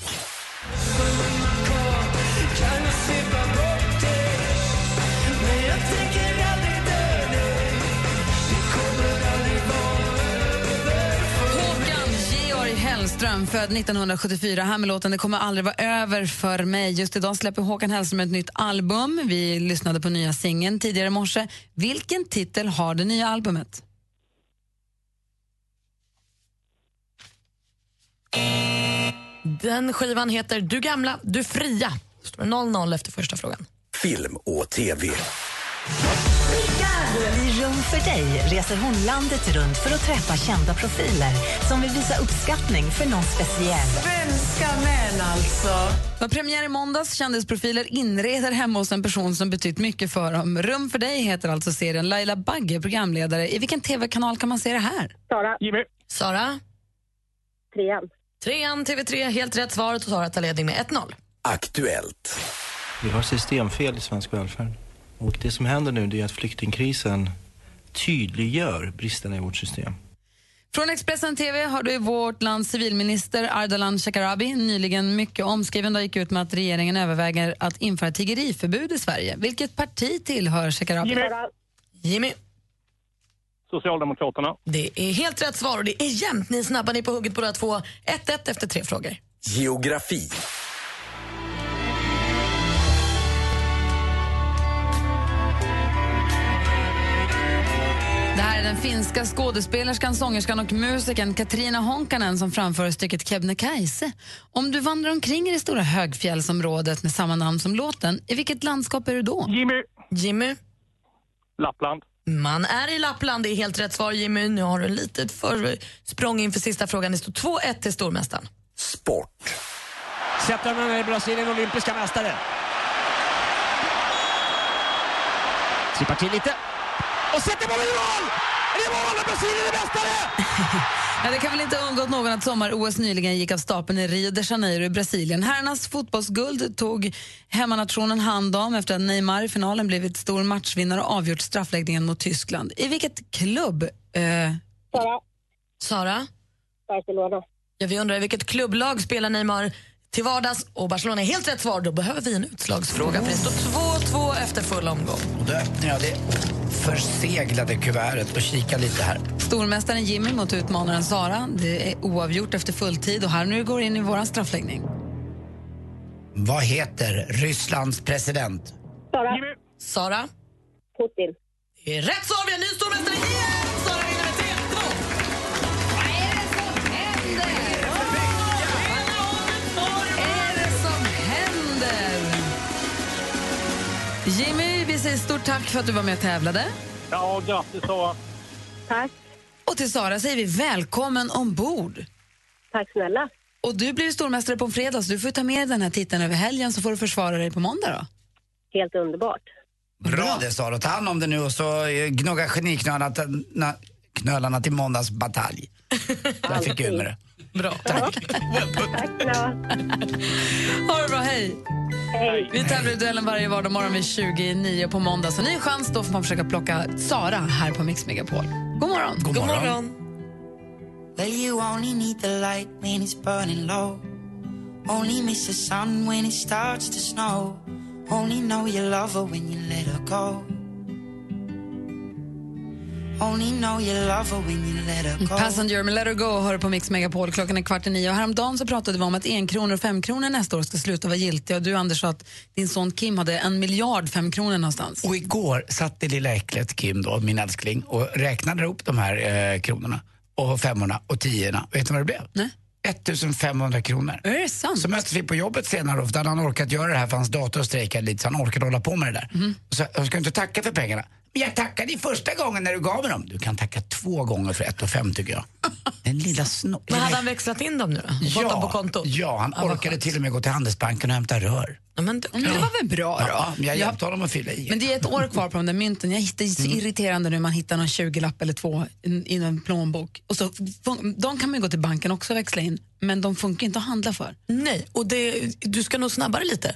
Håkan Georg Hellström, född 1974. Här med låten Det kommer aldrig vara över för mig. Just idag släpper Håkan Hellström ett nytt album. Vi lyssnade på nya singeln tidigare i morse. Vilken titel har det nya albumet?
Den skivan heter Du gamla, du fria. Står det 0-0 efter första frågan.
Film och TV.
Idol i Rum för dig reser hon landet runt för att träffa kända profiler som vill visa uppskattning för någon speciell.
Svenska män alltså. Var premiär i måndags. Kändisprofiler inreder hemma hos en person som betytt mycket för dem. Rum för dig heter alltså serien. Laila Bagge, programledare. I vilken tv-kanal kan man se det här?
Sara. Sara? Trean. Trean, TV3. Helt rätt svaret och Sara tar ledning med 1-0.
Aktuellt.
Vi har systemfel i svensk välfärd. Och det som händer nu det är att flyktingkrisen tydliggör bristerna i vårt system.
Från Expressen TV har du i vårt lands civilminister Ardalan Shekarabi nyligen mycket omskriven dag gick ut med att regeringen överväger att införa tiggeriförbud i Sverige. Vilket parti tillhör Shekarabi?
Jimmy.
Jimmy.
Socialdemokraterna.
Det är helt rätt svar och det är jämnt. Ni är snabba, ni är på hugget båda två. 1-1 efter tre frågor.
Geografi.
Det här är den finska skådespelerskan, sångerskan och musikern Katrina Honkanen som framför stycket Kebnekaise. Om du vandrar omkring i det stora högfjällsområdet med samma namn som låten, i vilket landskap är du då?
Jimmy.
Jimmy.
Lappland.
Man är i Lappland, det är helt rätt svar Jimmy. Nu har du ett litet försprång inför sista frågan. Det står 2-1 till stormästaren.
Sport.
September är Brasilien olympiska mästare. Trippar till lite.
Och sätter bollen i mål! Det är mål och Brasilien är mästare! Ja, det kan väl inte ha undgått någon att sommar-OS nyligen gick av stapeln i Rio de Janeiro i Brasilien. Herrarnas fotbollsguld tog hemmanationen hand om efter att Neymar i finalen blivit stor matchvinnare och avgjort straffläggningen mot Tyskland. I vilket klubb... Eh...
Sara. Sara? Barcelona. Ja, vi undrar i vilket klubblag spelar Neymar till vardags och Barcelona är helt rätt svar. Då behöver vi en utslagsfråga för det står 2-2 efter full omgång.
Och då öppnar jag det förseglade kuvertet och kikar lite här.
Stormästaren Jimmy mot utmanaren Sara. Det är oavgjort efter fulltid och här nu går in i våran straffläggning.
Vad heter Rysslands president?
Sara. Sara. Putin. Det är rätt svar. Vi har en ny stormästare igen! Sara vinner med
3-2. Jimmy, vi säger stort tack för att du var med och tävlade.
Ja, grattis Sara.
Tack. Och till Sara säger vi välkommen ombord. Tack snälla. Och du blir stormästare på en fredag så du får ta med dig den här titeln över helgen så får du försvara dig på måndag då.
Helt underbart.
Bra det sa du. Ta hand om det nu och så eh, gnugga geniknölarna till- na- knölarna till måndags batalj. Där fick jag ur med det.
Bra.
Tack.
Ha det bra, hej! Vi tävlar i duellen varje vardag morgon vid 29 på måndag. Så ny chans, då får man försöka plocka Sara här på Mix Megapol. God morgon!
God God morgon. morgon.
Well, you only need the light when it's burning low. Only miss the sun when it starts to snow. Only know you love her when you let her go. Only know you love her when you let her go.
Passenger med Let Her Go hör på Mix Megapol. Klockan är kvart i nio. Och häromdagen så pratade vi om att enkronor och femkronor nästa år ska sluta vara giltiga. Och du, Anders, sa att din son Kim hade en miljard femkronor någonstans.
Och igår satt det lilla äcklet Kim då, min älskling, och räknade ihop de här eh, kronorna och femmorna och tiorna. Vet du vad det blev?
Nej.
1500 kronor.
Är det sant?
Så möttes vi på jobbet senare då, för då hade han orkat göra det här för hans dator strejkade lite så han orkade hålla på med det där. Och så, jag ska inte tacka för pengarna. Men jag tackade i första gången när du gav mig dem. Du kan tacka två gånger för ett och fem tycker jag. Den lilla snor...
Men hade han växlat in dem nu då? Fått dem på kontot?
Ja, han
vad
orkade till och med gå till Handelsbanken och hämta rör.
Ja, men det,
det var väl bra då?
Ja, men jag hjälpte honom att fylla i.
Men det är ett år kvar på de där mynten. Jag hittar, det är så irriterande nu man hittar någon 20-lapp eller två i- i någon plånbok. Och så, fun- de kan man ju gå till banken också och växla in, men de funkar inte att handla för.
Nej, och det, du ska nog snabbare lite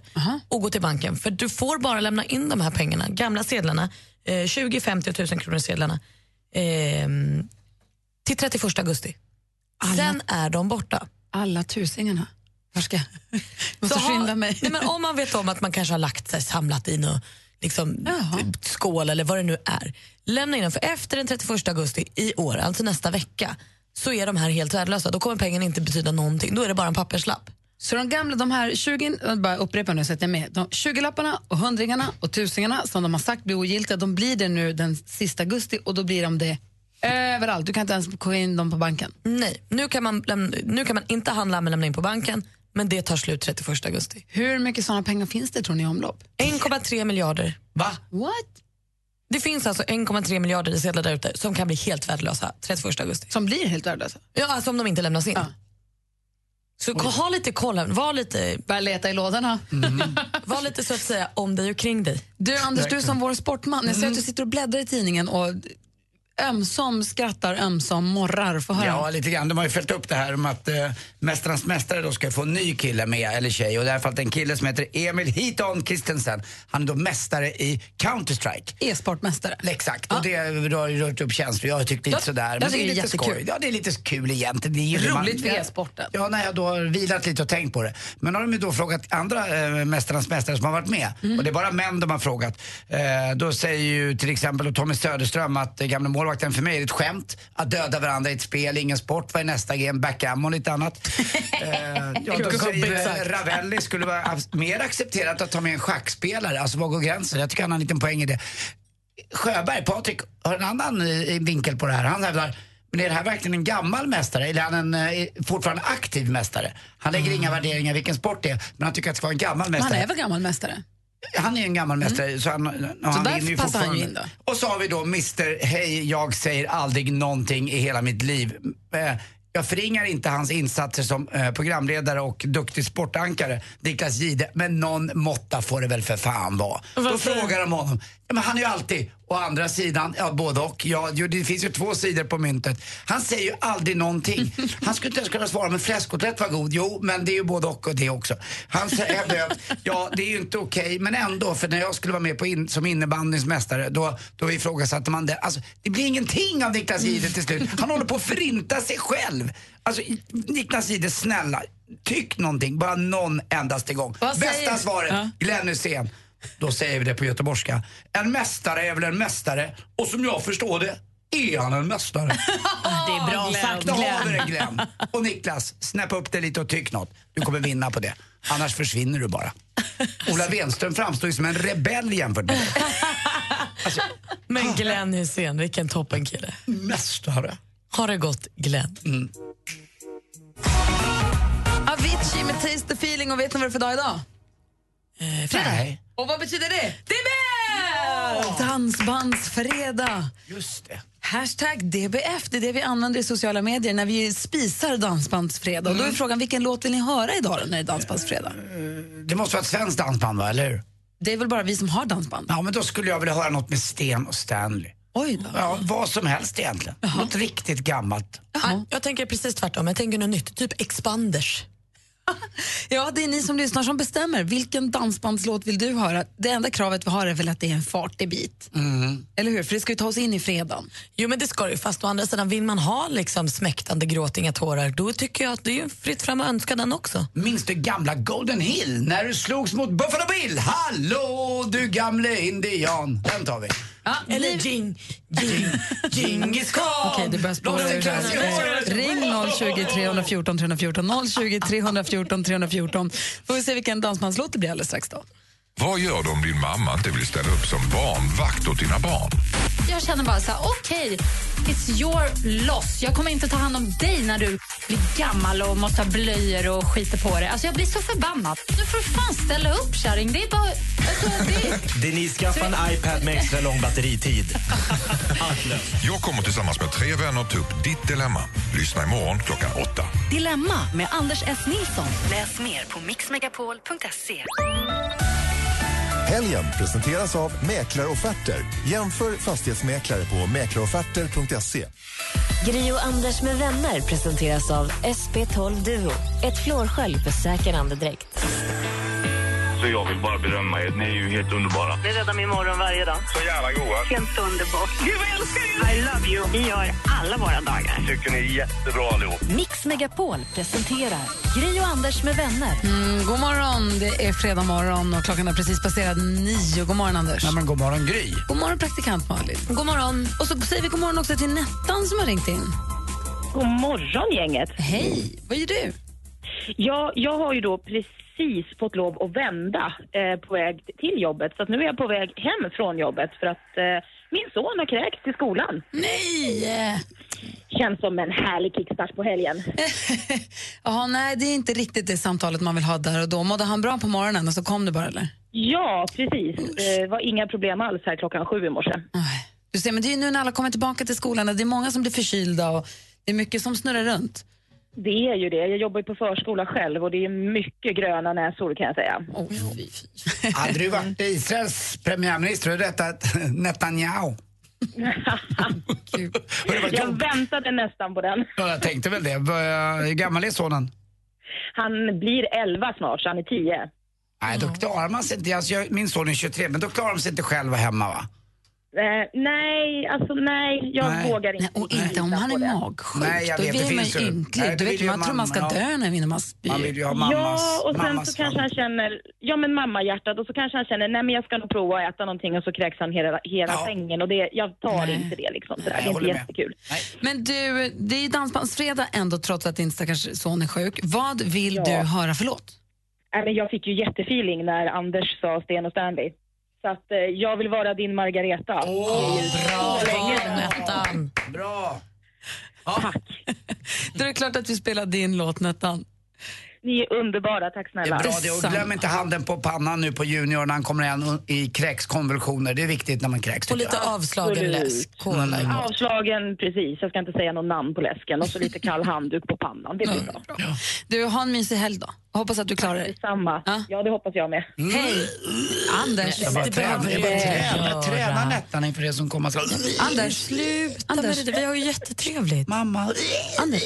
och gå till banken. För du får bara lämna in de här pengarna, gamla sedlarna, eh, 20, 50 och 1000 kronor sedlarna ehm, till 31 augusti. Sen är de borta.
Alla tusingarna. Var ska jag? måste
Så
skynda mig.
Nej, men om man vet om att man kanske har lagt sig, samlat in och liksom, typ skål eller vad det nu är. Lämna in dem, för efter den 31 augusti i år, alltså nästa vecka, så är de här helt värdelösa. Då kommer pengarna inte betyda någonting. Då är det bara en papperslapp.
Så de gamla, de här 20, jag bara upprepar nu så att jag är med. De 20-lapparna och hundringarna och tusingarna som de har sagt blir ogiltiga, de blir det nu den sista augusti och då blir de det överallt. Du kan inte ens gå in dem på banken.
Nej, nu kan man, lämna, nu kan man inte handla men lämna in på banken, men det tar slut 31 augusti.
Hur mycket sådana pengar finns det tror ni i omlopp?
1,3 miljarder.
Va?
What?
Det finns alltså 1,3 miljarder i sedlar där ute som kan bli helt värdelösa 31 augusti.
Som blir helt värdelösa?
Ja, alltså om de inte lämnas in. Så ko- ha lite koll, här. var lite... Mm.
Börja leta i lådorna.
var lite så att säga om dig och kring dig.
Du Anders, du som vår sportman, jag ser att du sitter och bläddrar i tidningen och ömsom skrattar, ömsom morrar. Får höra.
Ja, lite grann. De har ju följt upp det här om att eh, Mästarnas mästare då ska få en ny kille med, eller tjej. Och därför att en kille som heter Emil Hiton Christensen, han är då mästare i Counter-Strike.
E-sportmästare.
Exakt, och det det har ju rört upp känslor. Jag tyckte
Jag-
lite sådär.
jag
Men
tycker
det är
det är
lite
jättekul.
skoj. Ja, det är lite kul egentligen. Det är ju det man-
Roligt för e-sporten.
Ja, när jag då har vilat lite och tänkt på det. Men har de ju då frågat andra eh, Mästarnas mästare som har varit med,
Mm.
och det är bara män de har frågat. Eh, då säger ju till exempel då Tommy Söderström att eh, gamla målvakten för mig är ett skämt. Att döda varandra i ett spel, ingen sport. Vad är nästa gren? Backgammon och lite annat. Eh, ja, då
Exakt.
säger eh, Ravelli skulle vara abs- mer accepterat att ta med en schackspelare. Alltså var går gränsen? Jag tycker han har en liten poäng i det. Sjöberg, Patrik, har en annan eh, vinkel på det här. Han hävdar, men är det här verkligen en gammal mästare eller är han en eh, fortfarande aktiv mästare? Han lägger inga värderingar vilken sport det är, men han tycker att det ska vara en gammal
Men Mm. han
mästare.
är väl gammal mästare?
Han är en gammal mästare. Så, han, och
Så
han
därför
vinner ju
passar han ju in
fortfarande.
då.
Och så har vi då Mr. Hej, jag säger aldrig någonting i hela mitt liv. Eh, Jag förringar inte hans insatser som eh, programledare och duktig sportankare, Niklas Gide, men någon måtta får det väl för fan vara. Då frågar de honom. Ja, men han är ju alltid, å andra sidan, ja både och. Ja, jo, det finns ju två sidor på myntet. Han säger ju aldrig någonting. Han skulle inte ens kunna svara, men fläskkotlett var god. Jo, men det är ju både och och det också. Han säger att, ja det är ju inte okej, men ändå, för när jag skulle vara med på in, som innebandyns mästare, då, då ifrågasatte man det. Alltså, det blir ingenting av Niklas Jihde till slut. Han håller på att förinta sig själv. Alltså, i- Niklas Jihde, snälla, tyck någonting, bara någon endaste gång.
Vad säger
Bästa
du?
svaret,
Ja.
Glenn Hysén. Då säger vi det på göteborgska. En mästare är väl en mästare och som jag förstår det är han en mästare.
Det är bra sagt,
Då har vi
Glenn.
det Glenn. Och Niklas, snäppa upp det lite och tyck något. Du kommer vinna på det. Annars försvinner du bara. Ola Wenström framstår ju som en rebell jämfört med dig.
Men Glenn Hysén, vilken toppenkille.
Mästare.
Har det gått Glenn.
Avicii med Taste the feeling och vet ni vad det är för dag idag?
Eh,
fredag. Och vad betyder det? DBF! Dansbandsfredag.
Just det.
Hashtag DBF, det är det vi använder i sociala medier när vi spisar dansbandsfredag. Och
Mm.
Då är frågan, vilken låt vill ni höra idag då, när det är dansbandsfredag?
Det måste vara ett svenskt dansband va, eller hur?
Det är väl bara vi som har dansband?
Ja, men då skulle jag vilja höra något med Sten och Stanley.
Oj då.
Ja, vad som helst egentligen. Något riktigt gammalt.
Nej, jag tänker precis tvärtom. Jag tänker något nytt. Typ Expanders.
Ja, det är ni som lyssnar som bestämmer. Vilken dansbandslåt vill du höra? Det enda kravet vi har är väl att det är en fartig bit. Eller hur? För det ska ju ta oss in i fredagen.
Jo, men det ska det ju. Fast å andra sidan, vill man ha liksom smäktande gråt, inga tårar, då tycker jag att det är ju fritt fram att önska den också.
Minns du gamla Golden Hill när du slogs mot Buffalo Bill? Hallå du gamle indian. Den tar vi.
Eller jing, jing,
Djingis khan.
Okej, det börjar spåra
Blås en
ur
klassisk
här.
sång.
Ring 020 314 314 020 314 314. Får vi se vilken dansbandslåt det blir alldeles strax då.
Vad gör du om din mamma inte vill ställa upp som barnvakt åt dina barn?
Jag känner bara så här, okej, it's your loss. Jag kommer inte ta hand om dig när du blir gammal och måste ha blöjor och skiter på dig. Alltså jag blir så förbannad. Nu får du fan ställa upp kärring. Det är bara... Alltså, det är...
Denise, skaffa en iPad med extra lång batteritid.
Jag kommer tillsammans med tre vänner ta upp ditt dilemma. Lyssna imorgon klockan åtta.
Dilemma med Anders S. Nilsson. Läs mer på mixmegapol.se.
Helgen presenteras av Mäklarofferter. Jämför fastighetsmäklare på mäklarofferter.se.
Gri och Anders med vänner presenteras av SP12 Duo. Ett flårskölj för säker andedräkt.
Så jag vill bara berömma er. Ni är ju helt underbara.
Det räddar min morgon varje dag.
Så jävla goa.
Helt underbart. Gud, vad jag älskar er! I love you. Vi gör alla våra dagar.
Tycker ni är jättebra allihop.
Mix Megapol presenterar Gri och Anders med vänner.
Mm, god morgon, det är fredag morgon och klockan har precis passerat nio. God morgon Anders.
Ja, men god morgon Gry.
God morgon praktikant Malin. God morgon. Och så säger vi god morgon också till Nettan som har ringt in.
God morgon, gänget.
Hej, vad gör du?
Ja, jag har ju då precis fått lov att vända eh, på väg till jobbet. Så att nu är jag på väg hem från jobbet för att eh, min son har kräkts till skolan.
Nej!
Känns som en härlig kickstart på helgen.
Eh. Jaha, nej, det är inte riktigt det samtalet man vill ha där och då. Mådde han bra på morgonen och så kom du bara eller?
Ja, precis. Det var inga problem alls här klockan sju i morse.
Ah. Du ser, men det är ju nu när alla kommer tillbaka till skolan och det är många som blir förkylda och det är mycket som snurrar runt.
Det är ju det. Jag jobbar ju på förskola själv och det är mycket gröna näsor kan jag säga.
Hade du varit Israels premiärminister hade du rättat Netanyahu.
jag väntade nästan på den.
Ja, Jag tänkte väl det. Vad- Hur gammal är sonen?
Han blir 11 snart, så han är 10.
Nej, då klarar man sig inte. Alltså, jag, min son är 23, men då klarar de sig inte själva hemma va?
Eh, nej, alltså nej, jag
Nej.
vågar inte.
och inte om han är magsjuk.
Nej, jag
då
vet, det
blir man
finns ju-
ju
Nej,
ynklig.
det
Du
vill
vet,
ju
man tror man ska
mamma, ja.
dö när innan man spyr.
Man vill ju ha mammas...
ja, och sen
mammas
så kanske
hand.
han känner, ja men mammahjärtat och så kanske han känner, nej men jag ska nog prova att äta någonting och så kräks han hela, hela sängen och det, jag tar inte det liksom. Sådär. det är inte
håller med.
jättekul.
Men du, det är ju dansbandsfredag ändå trots att din stackars son är sjuk. Vad vill du höra för låt?
Nej, men jag fick ju jättefeeling när Anders sa Sten och Stanley. Så att eh, jag vill vara din Margareta.
Åh,
bra
Nettan.
Bra!
Då är det klart att vi spelar din låt Nettan.
Ni är underbara, tack
Det
snälla.
är bra det. Och glöm inte handen på pannan nu på junior när han kommer igen i kräkskonvulsioner. Det är viktigt när man kräks. tycker jag.
Absolut.
Mm.
Mm. Avslagen, precis. Jag ska inte säga något namn på läsken. Och så lite kall handduk på pannan. Det blir bra.
Mm. Du, ha en mysig helg då. Hoppas att du klarar dig.
Samma. Ja, det hoppas jag med.
Hej! Anders,
Jag bara
det
tränar,
behöver
jag bara
du
tränar,
göra.
tränar Nettan inför det som komma skall.
Anders, sluta Anders. med det Vi har ju jättetrevligt.
Mamma.
Anders,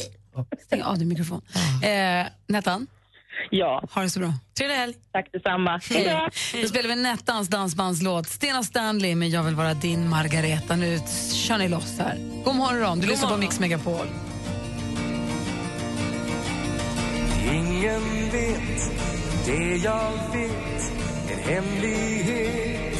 stäng av din mikrofon. Eh, Nettan?
Ja.
Ha det så bra.
Trevlig helg.
Tack detsamma.
Hej. Då spelar vi Nettans dansbandslåt Stena Stanley med Jag vill vara din Margareta. Nu kör ni loss här. God morgon, du
God
lyssnar på
morgon.
Mix Megapol.
Ingen vet det jag vet, en hemlighet.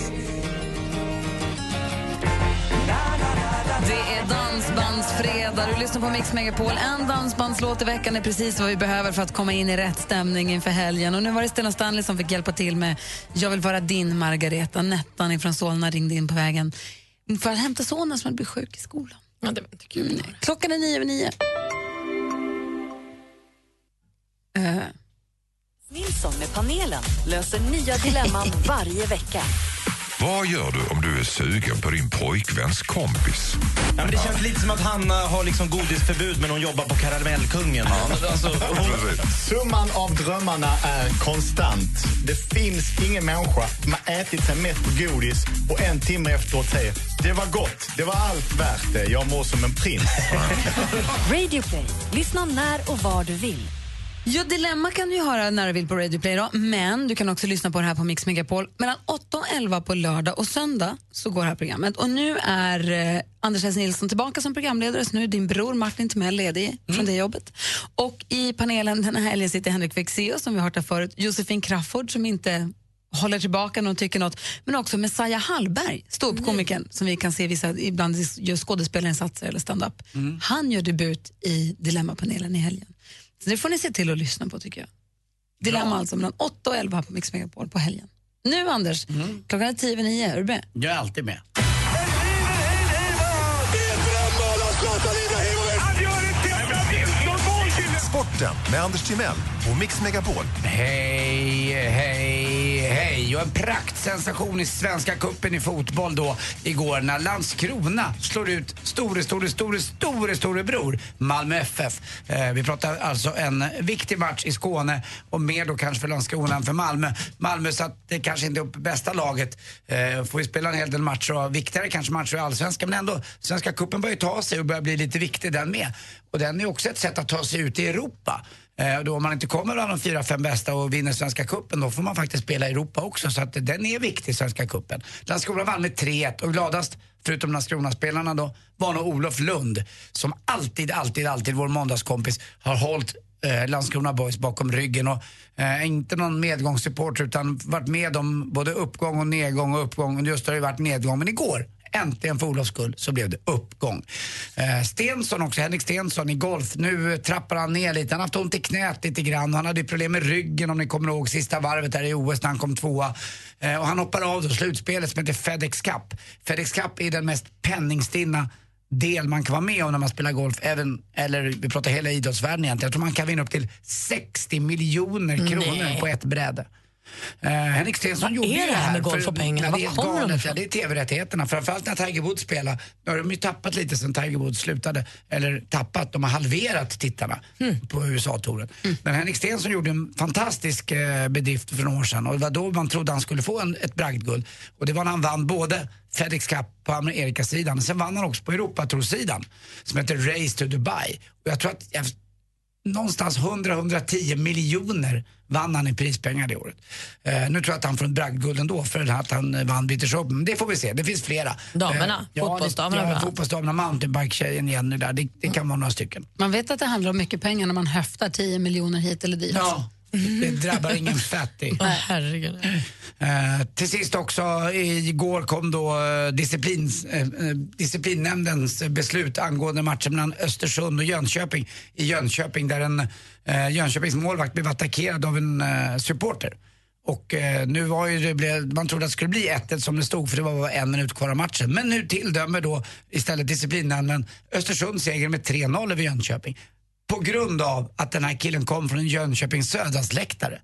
Det är dansbandsfredag. Du lyssnar på Mix Megapol. En dansbandslåt i veckan är precis vad vi behöver för att komma in i rätt stämning inför helgen. Och nu var det Stena Stanley som fick hjälpa till med Jag vill vara din Margareta. Nettan från Solna ringde in på vägen för att hämta sonen som hade blivit sjuk i skolan. Mm. Klockan är nio över nio. Eh,
Nilsson med panelen löser nya dilemman varje vecka.
Vad gör du om du är sugen på din pojkväns kompis?
Ja, men det känns lite som att Hanna har liksom godisförbud men hon jobbar på Karamellkungen. Alltså, hon...
Summan av drömmarna är konstant. Det finns ingen människa som har ätit sig mätt på godis och en timme efteråt säger det var gott, det var allt värt det, jag mår som en prins.
Radio Play. Lyssna när och var du vill.
Ja, Dilemma kan du ju höra när du vill på Radio Play, då, men du kan också lyssna på det här på Mix Megapol. Mellan 8 och 11 på lördag och söndag så går det här programmet. Och nu är eh, Anders S. Nilsson tillbaka som programledare, så nu är din bror Martin Timell ledig från det jobbet. Och i panelen den här helgen sitter Henrik Fexeus som vi har hört här förut, Josefin Crafoord som inte håller tillbaka när hon tycker något, men också Messiah Hallberg, ståuppkomikern som vi kan se vissa ibland gör skådespelarinsatser eller stand-up. Han gör debut i Dilemmapanelen i helgen. Så det får ni se till att lyssna på tycker jag. Dilemma alltså mellan 8 och 11 här på Mix Megapol på helgen. Nu Anders,
Mm.
klockan är 10 över 9, är du med?
Jag är alltid med.
Sporten med Anders Timell och Mix Megapol.
Hej, hej, hej. Och en praktsensation i Svenska cupen i fotboll då igår när Landskrona slår ut store, store, store, store, store bror Malmö FF. Eh, vi pratar alltså en viktig match i Skåne och mer då kanske för Landskrona än för Malmö. Malmö satte kanske inte upp bästa laget. Eh, får ju spela en hel del matcher och viktigare kanske matcher i Allsvenskan men ändå Svenska cupen börjar ju ta sig och börjar bli lite viktig den med. Och den är också ett sätt att ta sig ut i Europa. Eh, och då om man inte kommer bland de fyra, fem bästa och vinner Svenska Cupen då får man faktiskt spela i Europa också. Så att den är viktig, Svenska Cupen. Landskrona vann med 3-1 och gladast, förutom Landskronaspelarna då, var nog Olof Lund som alltid, alltid, alltid vår måndagskompis har hållit eh, Landskrona Boys bakom ryggen och eh, inte någon medgångssupporter utan varit med om både uppgång och nedgång och uppgång och just har det varit nedgång. Men igår, äntligen för Olofs skull, så blev det uppgång. Eh, Stensson också, Henrik Stensson i golf. Nu eh, trappar han ner lite. Han har haft ont i knät lite grann. Han hade ju problem med ryggen om ni kommer ihåg sista varvet där i OS när han kom tvåa. Eh, och han hoppar av då slutspelet som heter Fedex Cup. Fedex Cup är den mest penningstinna del man kan vara med om när man spelar golf, även, eller vi pratar hela idrottsvärlden egentligen. Jag tror man kan vinna upp till 60 miljoner kronor
Nej.
på ett bräde. Eh, Henrik Stensson
Vad
gjorde
är
ju
det här med golf
för-
och pengar?
Nej,
Var
det är helt
kommer de
galet.
ifrån?
Ja, det är tv-rättigheterna. Framförallt när Tiger Woods spelar. Nu har de ju tappat lite sen Tiger Woods slutade. Eller tappat, de har halverat tittarna
Mm.
på USA-touren. Men Henrik Stenson gjorde en fantastisk eh, bedrift för några år sedan. Och det var då man trodde han skulle få en, ett bragdguld. Och det var när han vann både FedEx Cup på Amerikasidan. Sen vann han också på Europatorsidan som heter Race to Dubai. Och jag tror att jag, någonstans 100-110 miljoner vann han i prispengar det året. Eh, nu tror jag att han får en bragdguld ändå för att han eh, vann British Open. Men det får vi se, det finns flera.
Damerna,
Eh, ja,
fotbollsdamerna
det-
bland
Ja,
annat.
fotbollsdamerna, mountainbike-tjejen Jenny där. Det, det kan vara några stycken.
Man vet att det handlar om mycket pengar när man höftar 10 miljoner hit eller dit.
Ja, det drabbar ingen fattig.
Herregud.
Eh, till sist också, igår kom då eh, disciplins, eh, eh, disciplinnämndens beslut angående matchen mellan Östersund och Jönköping i Jönköping där en eh, Jönköpings målvakt blev attackerad av en eh, supporter. Och eh, nu var ju det, blev- man trodde att det skulle bli 1 som det stod för det var bara en minut kvar av matchen. Men nu tilldömer då istället disciplinnämnden Östersund seger med 3-0 över Jönköping. På grund av att den här killen kom från en Jönköpings Södrasläktare.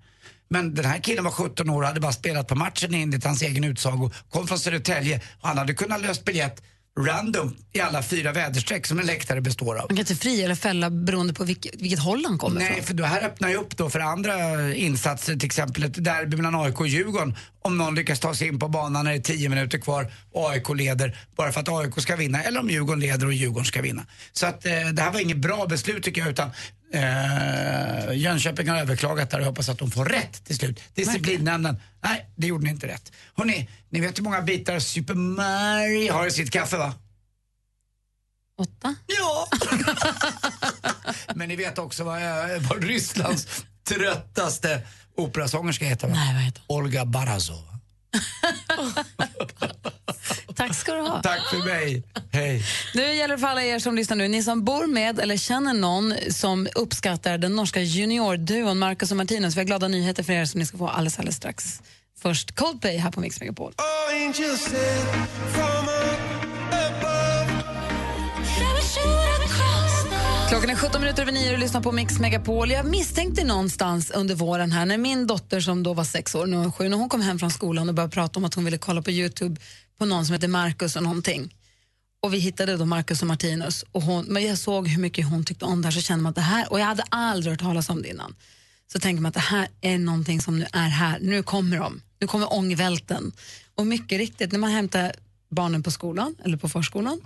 Men den här killen var 17 år och hade bara spelat på matchen enligt hans egen utsago. Kom från Södertälje och han hade kunnat löst biljett random i alla fyra väderstreck som en läktare består av.
Man kan inte fria eller fälla beroende på vilket, vilket håll han kommer
Nej,
ifrån.
för det här öppnar ju upp då för andra insatser, till exempel ett derby mellan AIK och Djurgården. Om någon lyckas ta sig in på banan när det är 10 minuter kvar och AIK leder bara för att AIK ska vinna eller om Djurgården leder och Djurgården ska vinna. Så att eh, det här var inget bra beslut tycker jag utan eh, Jönköping har överklagat där och hoppas att de får rätt till slut. Disciplinnämnden, nej det gjorde ni inte rätt. Hörrni, ni vet hur många bitar Super Mario har i sitt kaffe va?
Åtta?
Ja! Men ni vet också vad, eh, vad Rysslands tröttaste operasångerska heter? Va? Nej,
vad heter
Olga Barazova.
Tack ska du ha.
Tack för mig. Hej.
Nu gäller det för alla er som lyssnar nu, ni som bor med eller känner någon som uppskattar den norska juniorduon Marcus och Martinus. Vi har glada nyheter för er som ni ska få alldeles, alldeles strax. Först Coldplay här på Mix Megapol. Klockan är 17 minuter över 9 och du lyssnar på Mix Megapol. Jag misstänkte någonstans under våren här när min dotter som då var sex år, nu är hon sju, när hon kom hem från skolan och började prata om att hon ville kolla på Youtube på någon som heter Marcus och någonting. Och vi hittade då Marcus och Martinus. Och hon, men jag såg hur mycket hon tyckte om det här så kände man att det här, och jag hade aldrig hört talas om det innan. Så tänker man att det här är någonting som nu är här, nu kommer de, nu kommer ångvälten. Och mycket riktigt, när man hämtar barnen på skolan eller på förskolan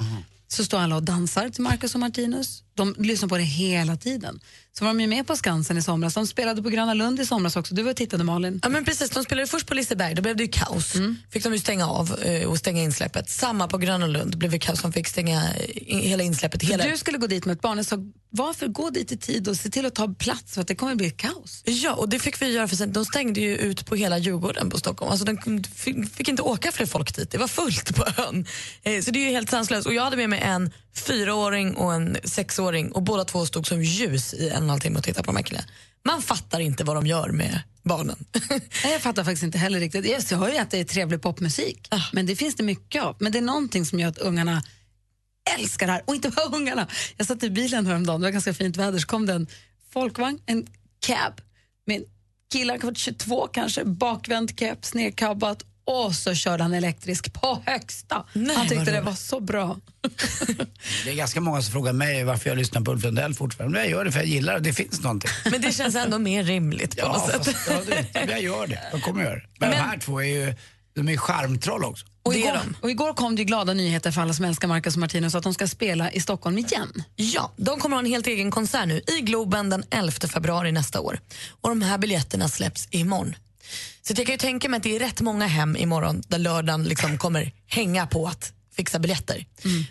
så står alla och dansar till Marcus och Martinus. De lyssnar på det hela tiden. Så var de ju med på Skansen i somras. De spelade på Gröna Lund i somras också. Du var och tittade Malin. Mm.
Ja, men precis, de spelade först på Liseberg, då blev det ju kaos. Fick de ju stänga av eh, och stänga insläppet. Samma på Gröna Lund blev det kaos, de fick stänga eh, in, hela insläppet.
För
Hela...
Du skulle gå dit med ett barn. Jag sa, varför gå dit i tid och se till att ta plats för att det kommer bli kaos?
Ja, och det fick vi göra för sen, de stängde ju ut på hela Djurgården på Stockholm. Alltså de fick, fick inte åka fler folk dit, det var fullt på ön. Eh, så det är ju helt sanslöst. Och jag hade med mig en fyraåring och en sexåring och båda två stod som ljus i en och en halv timme och tittade på de här killarna. Man fattar inte vad de gör med barnen.
Nej, jag fattar faktiskt inte heller riktigt. Yes, jag hör ju att det är trevlig popmusik,
Ah.
men det finns det mycket av. Men det är någonting som gör att ungarna älskar det här, och inte bara ungarna. Jag satt i bilen häromdagen, det var ganska fint väder, så kom det en folkvagn, en cab med killar, kanske 22 kanske, bakvänd keps, nedkabbat och så körde han elektrisk på högsta. han tyckte
vad
det
roligt.
var så bra.
Det är ganska många som frågar mig varför jag lyssnar på Ulf Lundell fortfarande. Men jag gör det för jag gillar det, det finns någonting.
Men det känns ändå mer rimligt på
Ja,
något sätt.
fast, ja det, jag gör det. Jag kommer göra det. Men, de här två är ju, de är ju charmtroll också.
Och igår, och igår kom det ju glada nyheter för alla som älskar Marcus och Martinus att de ska spela i Stockholm igen.
Ja, de kommer ha en helt egen konsert nu i Globen den 11 februari nästa år. Och de här biljetterna släpps imorgon. Så att jag kan ju tänka mig att det är rätt många hem imorgon där lördagen liksom kommer hänga på att fixa biljetter.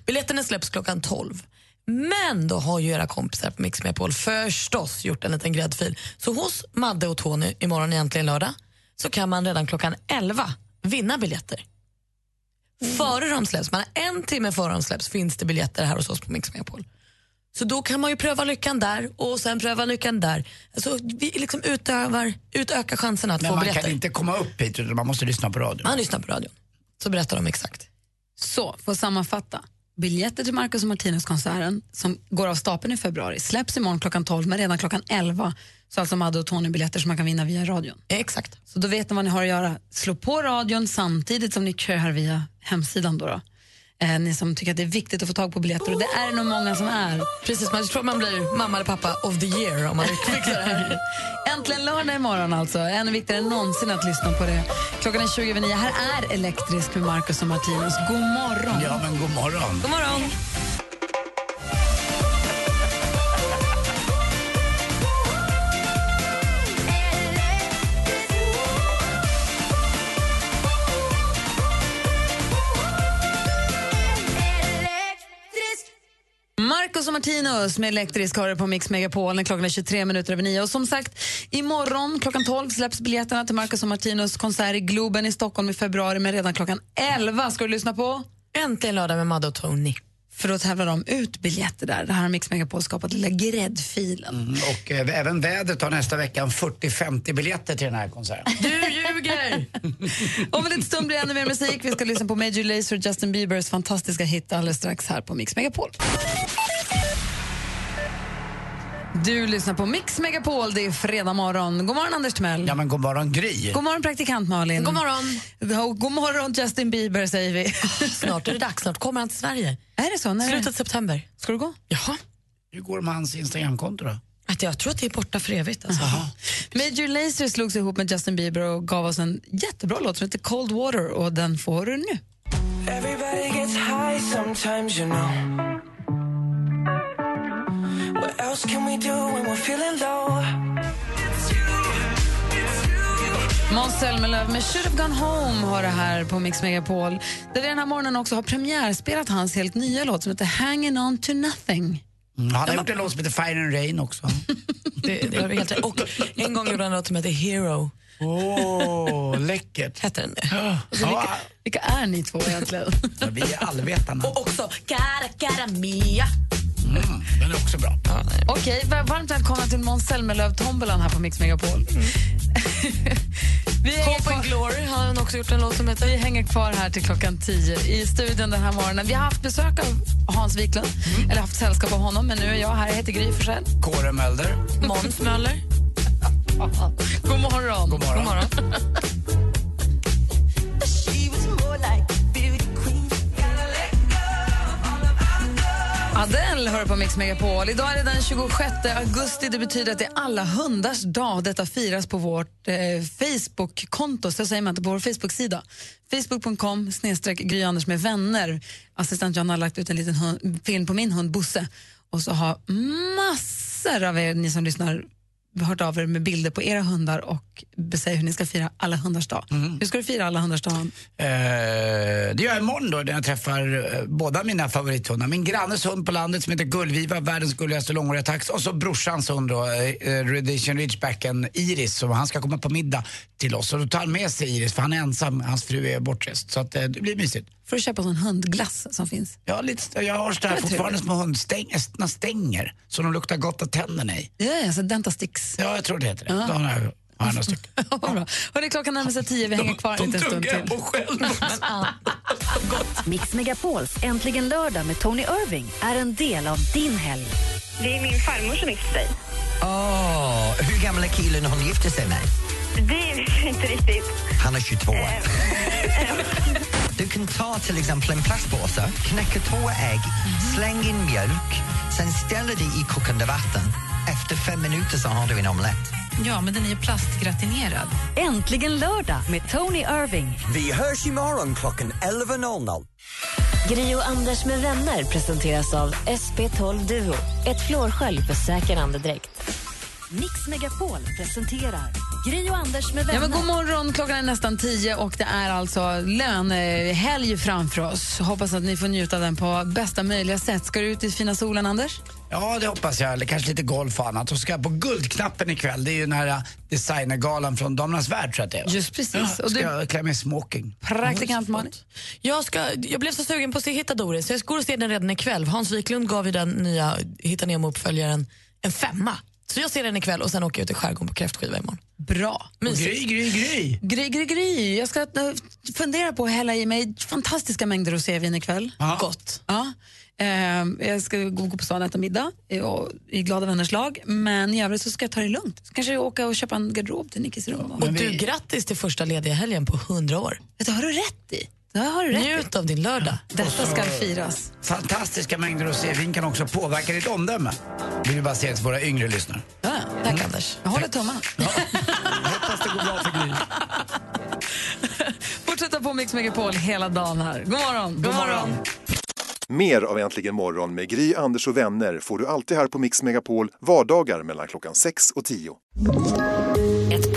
Biljetterna släpps klockan 12. Men då har ju era kompisar på Mix Megapol förstås gjort en liten gräddfil. Så hos Madde och Tony imorgon egentligen lördag så kan man redan klockan 11 vinna biljetter.
Mm.
Före de släpps, man har en timme före de släpps finns det biljetter här hos oss på Mix Megapol. Så då kan man ju pröva lyckan där och sen pröva lyckan där. Alltså, vi liksom utövar, utökar chansen att
Men
få
man
biljetter.
kan inte komma upp hit utan man måste lyssna på radio.
Man lyssnar på radion. Så berättar de exakt.
Så, för att sammanfatta. Biljetter till Marcus och Martinus-konserten som går av stapeln i februari släpps imorgon klockan 12 men redan klockan 11 så alltså Madde och Tony biljetter som man kan vinna via radion.
Exakt.
Så då vet ni vad ni har att göra. Slå på radion samtidigt som ni köar via hemsidan. Då då. Eh, ni som tycker att det är viktigt att få tag på biljetter och det är det nog många som är.
Precis, man tror man blir mamma eller pappa of the year om man fixar det här.
Äntligen lördag imorgon alltså. Ännu viktigare än någonsin att lyssna på det. Klockan är 20 över nio. Här är Elektrisk med Marcus och Martinus. God morgon.
Ja, men god morgon.
God morgon.
Marcus och Martinus med Elektrisk har det på Mix Megapol när klockan är 23 minuter över 9. Och som sagt, imorgon klockan 12 släpps biljetterna till Marcus och Martinus konsert i Globen i Stockholm i februari, men redan klockan 11 ska du lyssna på
Äntligen lördag med Madde och Tony.
För då tävlar de ut biljetter där. Det här har Mix Megapol skapat, lilla gräddfilen.
Mm, Och eh, även vädret har nästa vecka en 40-50 biljetter till den här konserten.
Du ljuger!
Om en liten stund blir det ännu mer musik. Vi ska lyssna på Major Lazer och Justin Biebers fantastiska hit alldeles strax här på Mix Megapol. Du lyssnar på Mix Megapol, det är fredag morgon. God morgon Anders Timell.
Ja, men god morgon Gry.
God morgon praktikant Malin.
God morgon. Ah,
Ja, God morgon Justin Bieber säger vi.
Snart är det dags, snart kommer han till Sverige.
Är det så? När är det?
Slutet september.
Ska du gå?
Ja.
Hur går det med hans Instagramkonto då? Mm,
Att jag tror att det är borta för evigt. Alltså.
Major Lazer slogs ihop med Justin Bieber och gav oss en jättebra låt som heter Cold Water och den får du nu.
Everybody gets high sometimes, you know. What else can we do when we're feeling low?
Måns Zelmerlöw med Should have gone home har det här på Mix Megapol. Där vi den här morgonen också har premiärspelat hans helt nya låt som heter Hanging on to nothing.
Mm, han har gjort en låt som heter Fire and Rain också.
Det, det har du helt rätt. Och en gång gjorde han en låt som hette Hero.
Åh, läckert.
Hette den det?
Alltså, vilka, vilka är ni två egentligen?
Vi är allvetarna.
Och också Cara Cara Mia.
Mm, den är också bra.
Okej, var- varmt välkomna till Måns Zelmerlöw-tombolan här på Mix Megapol. Vi är Mm. Hope
and Glory har han
också gjort en låt som heter Vi hänger kvar här till klockan 10 i studion den här morgonen. Vi har haft besök av Hans Wiklund, eller haft sällskap av honom, men nu är jag här. Jag heter Gry Forssell.
Kåre Mölder.
Måns Möller. God morgon. God morgon. God morgon. Adele hör på Mix Megapol. Idag är det den 26 augusti. Det betyder att det är alla hundars dag. Detta firas på vårt eh, Facebook-konto, så säger man inte, på vår Facebook-sida. Facebook.com snedstreck Gry Anders med vänner. Assistent John har lagt ut en liten hund, film på min hund Bosse. Och så har massor av er, ni som lyssnar, hört av er med bilder på era hundar och säger hur ni ska fira alla hundars dag. Hur ska du fira alla hundars dag?
Eh, Mm. det gör jag imorgon då när jag träffar eh, båda mina favorithundar. Min grannes hund på landet som heter Gullviva, världens gulligaste långhåriga tax. Och så brorsans hund då, eh, Rhodesian Ridgebacken Iris. Så han ska komma på middag till oss. Och då tar han med sig Iris för han är ensam, hans fru är bortrest. Så att, eh, det blir mysigt.
Får du köpa sån hundglass som finns?
Jag har, lite, jag har
Det
sådär
var
fortfarande
trevligt.
små hundstänger, såna stänger. Så de luktar gott av tänderna i.
Ja, ja, så Dentasticks.
Ja, jag tror det heter det.
Ja.
Då har jag, har jag några stycken.
Hörrni, klockan närmar sig tio. Vi hänger kvar en liten stund till.
Mix Megapols Äntligen lördag med Tony Irving är en del av din helg.
Det är min farmor som gifte sig.
Åh, Ah. hur gammal är killen hon gifter sig med?
Det vet jag inte riktigt.
Han är 22. Du kan ta till exempel en plastpåse, knäcka två ägg, släng in mjölk, sen ställer det i kokande vatten. Efter fem minuter så har du en omelett.
Ja, men den är ju plastgratinerad.
Äntligen lördag med Tony Irving.
Vi hörs imorgon klockan 11.00.
Gri och Anders med vänner presenteras av SP12 Duo. Ett flårskölj för säker andedräkt.
Mix Megapol presenterar Gri och Anders med vänner.
Ja, men god morgon, klockan är nästan tio och det är alltså lönehelg framför oss. Hoppas att ni får njuta av den på bästa möjliga sätt. Ska du ut i fina solen, Anders?
Ja, det hoppas jag. Eller kanske lite golf och annat. Och så ska jag på Guldknappen ikväll. Det är ju den här äh, designergalan från Damernas Värld tror jag att det är. va?
Just precis.
Ja,
Och
ska
du-
jag klä mig i smoking.
Praktikant Malin?
Jag, ska, jag blev så sugen på att se Hitta Doris, så jag går och ser den redan ikväll. Hans Wiklund gav ju den nya Hitta Nemo-uppföljaren en femma. Så jag ser den ikväll och sen åker jag ut i skärgården på kräftskiva imorgon.
Bra.
Mysigt.
Gry, gry, gry.
Gry, gry, gry. Jag ska eh, fundera på att hälla i mig fantastiska mängder rosévin ikväll.
Ja. Gott.
Ja. Ehm, jag ska gå gå på stan och äta middag eh, och i glada vänners lag. Men i övrigt så ska jag ta det lugnt. Så kanske jag åka och köpa en garderob till Nickis rum.
Och du, grattis till första lediga helgen på 100 år.
Det har du rätt i. Det har du rätt i.
Njut av din lördag.
Detta ska firas.
Fantastiska mängder rosévin kan också påverka ditt omdöme. Vill ju bara säga till våra yngre lyssnare. Mm.
Ja, tack, Anders. Jag håller tummarna.
Hoppas det går bra för Gry.
Fortsätta på Mix Megapol hela dagen här. God morgon. God, morgon.
Mer av Äntligen morgon med Gry, Anders och vänner får du alltid här på Mix Megapol vardagar mellan klockan 6 och 10.
Ett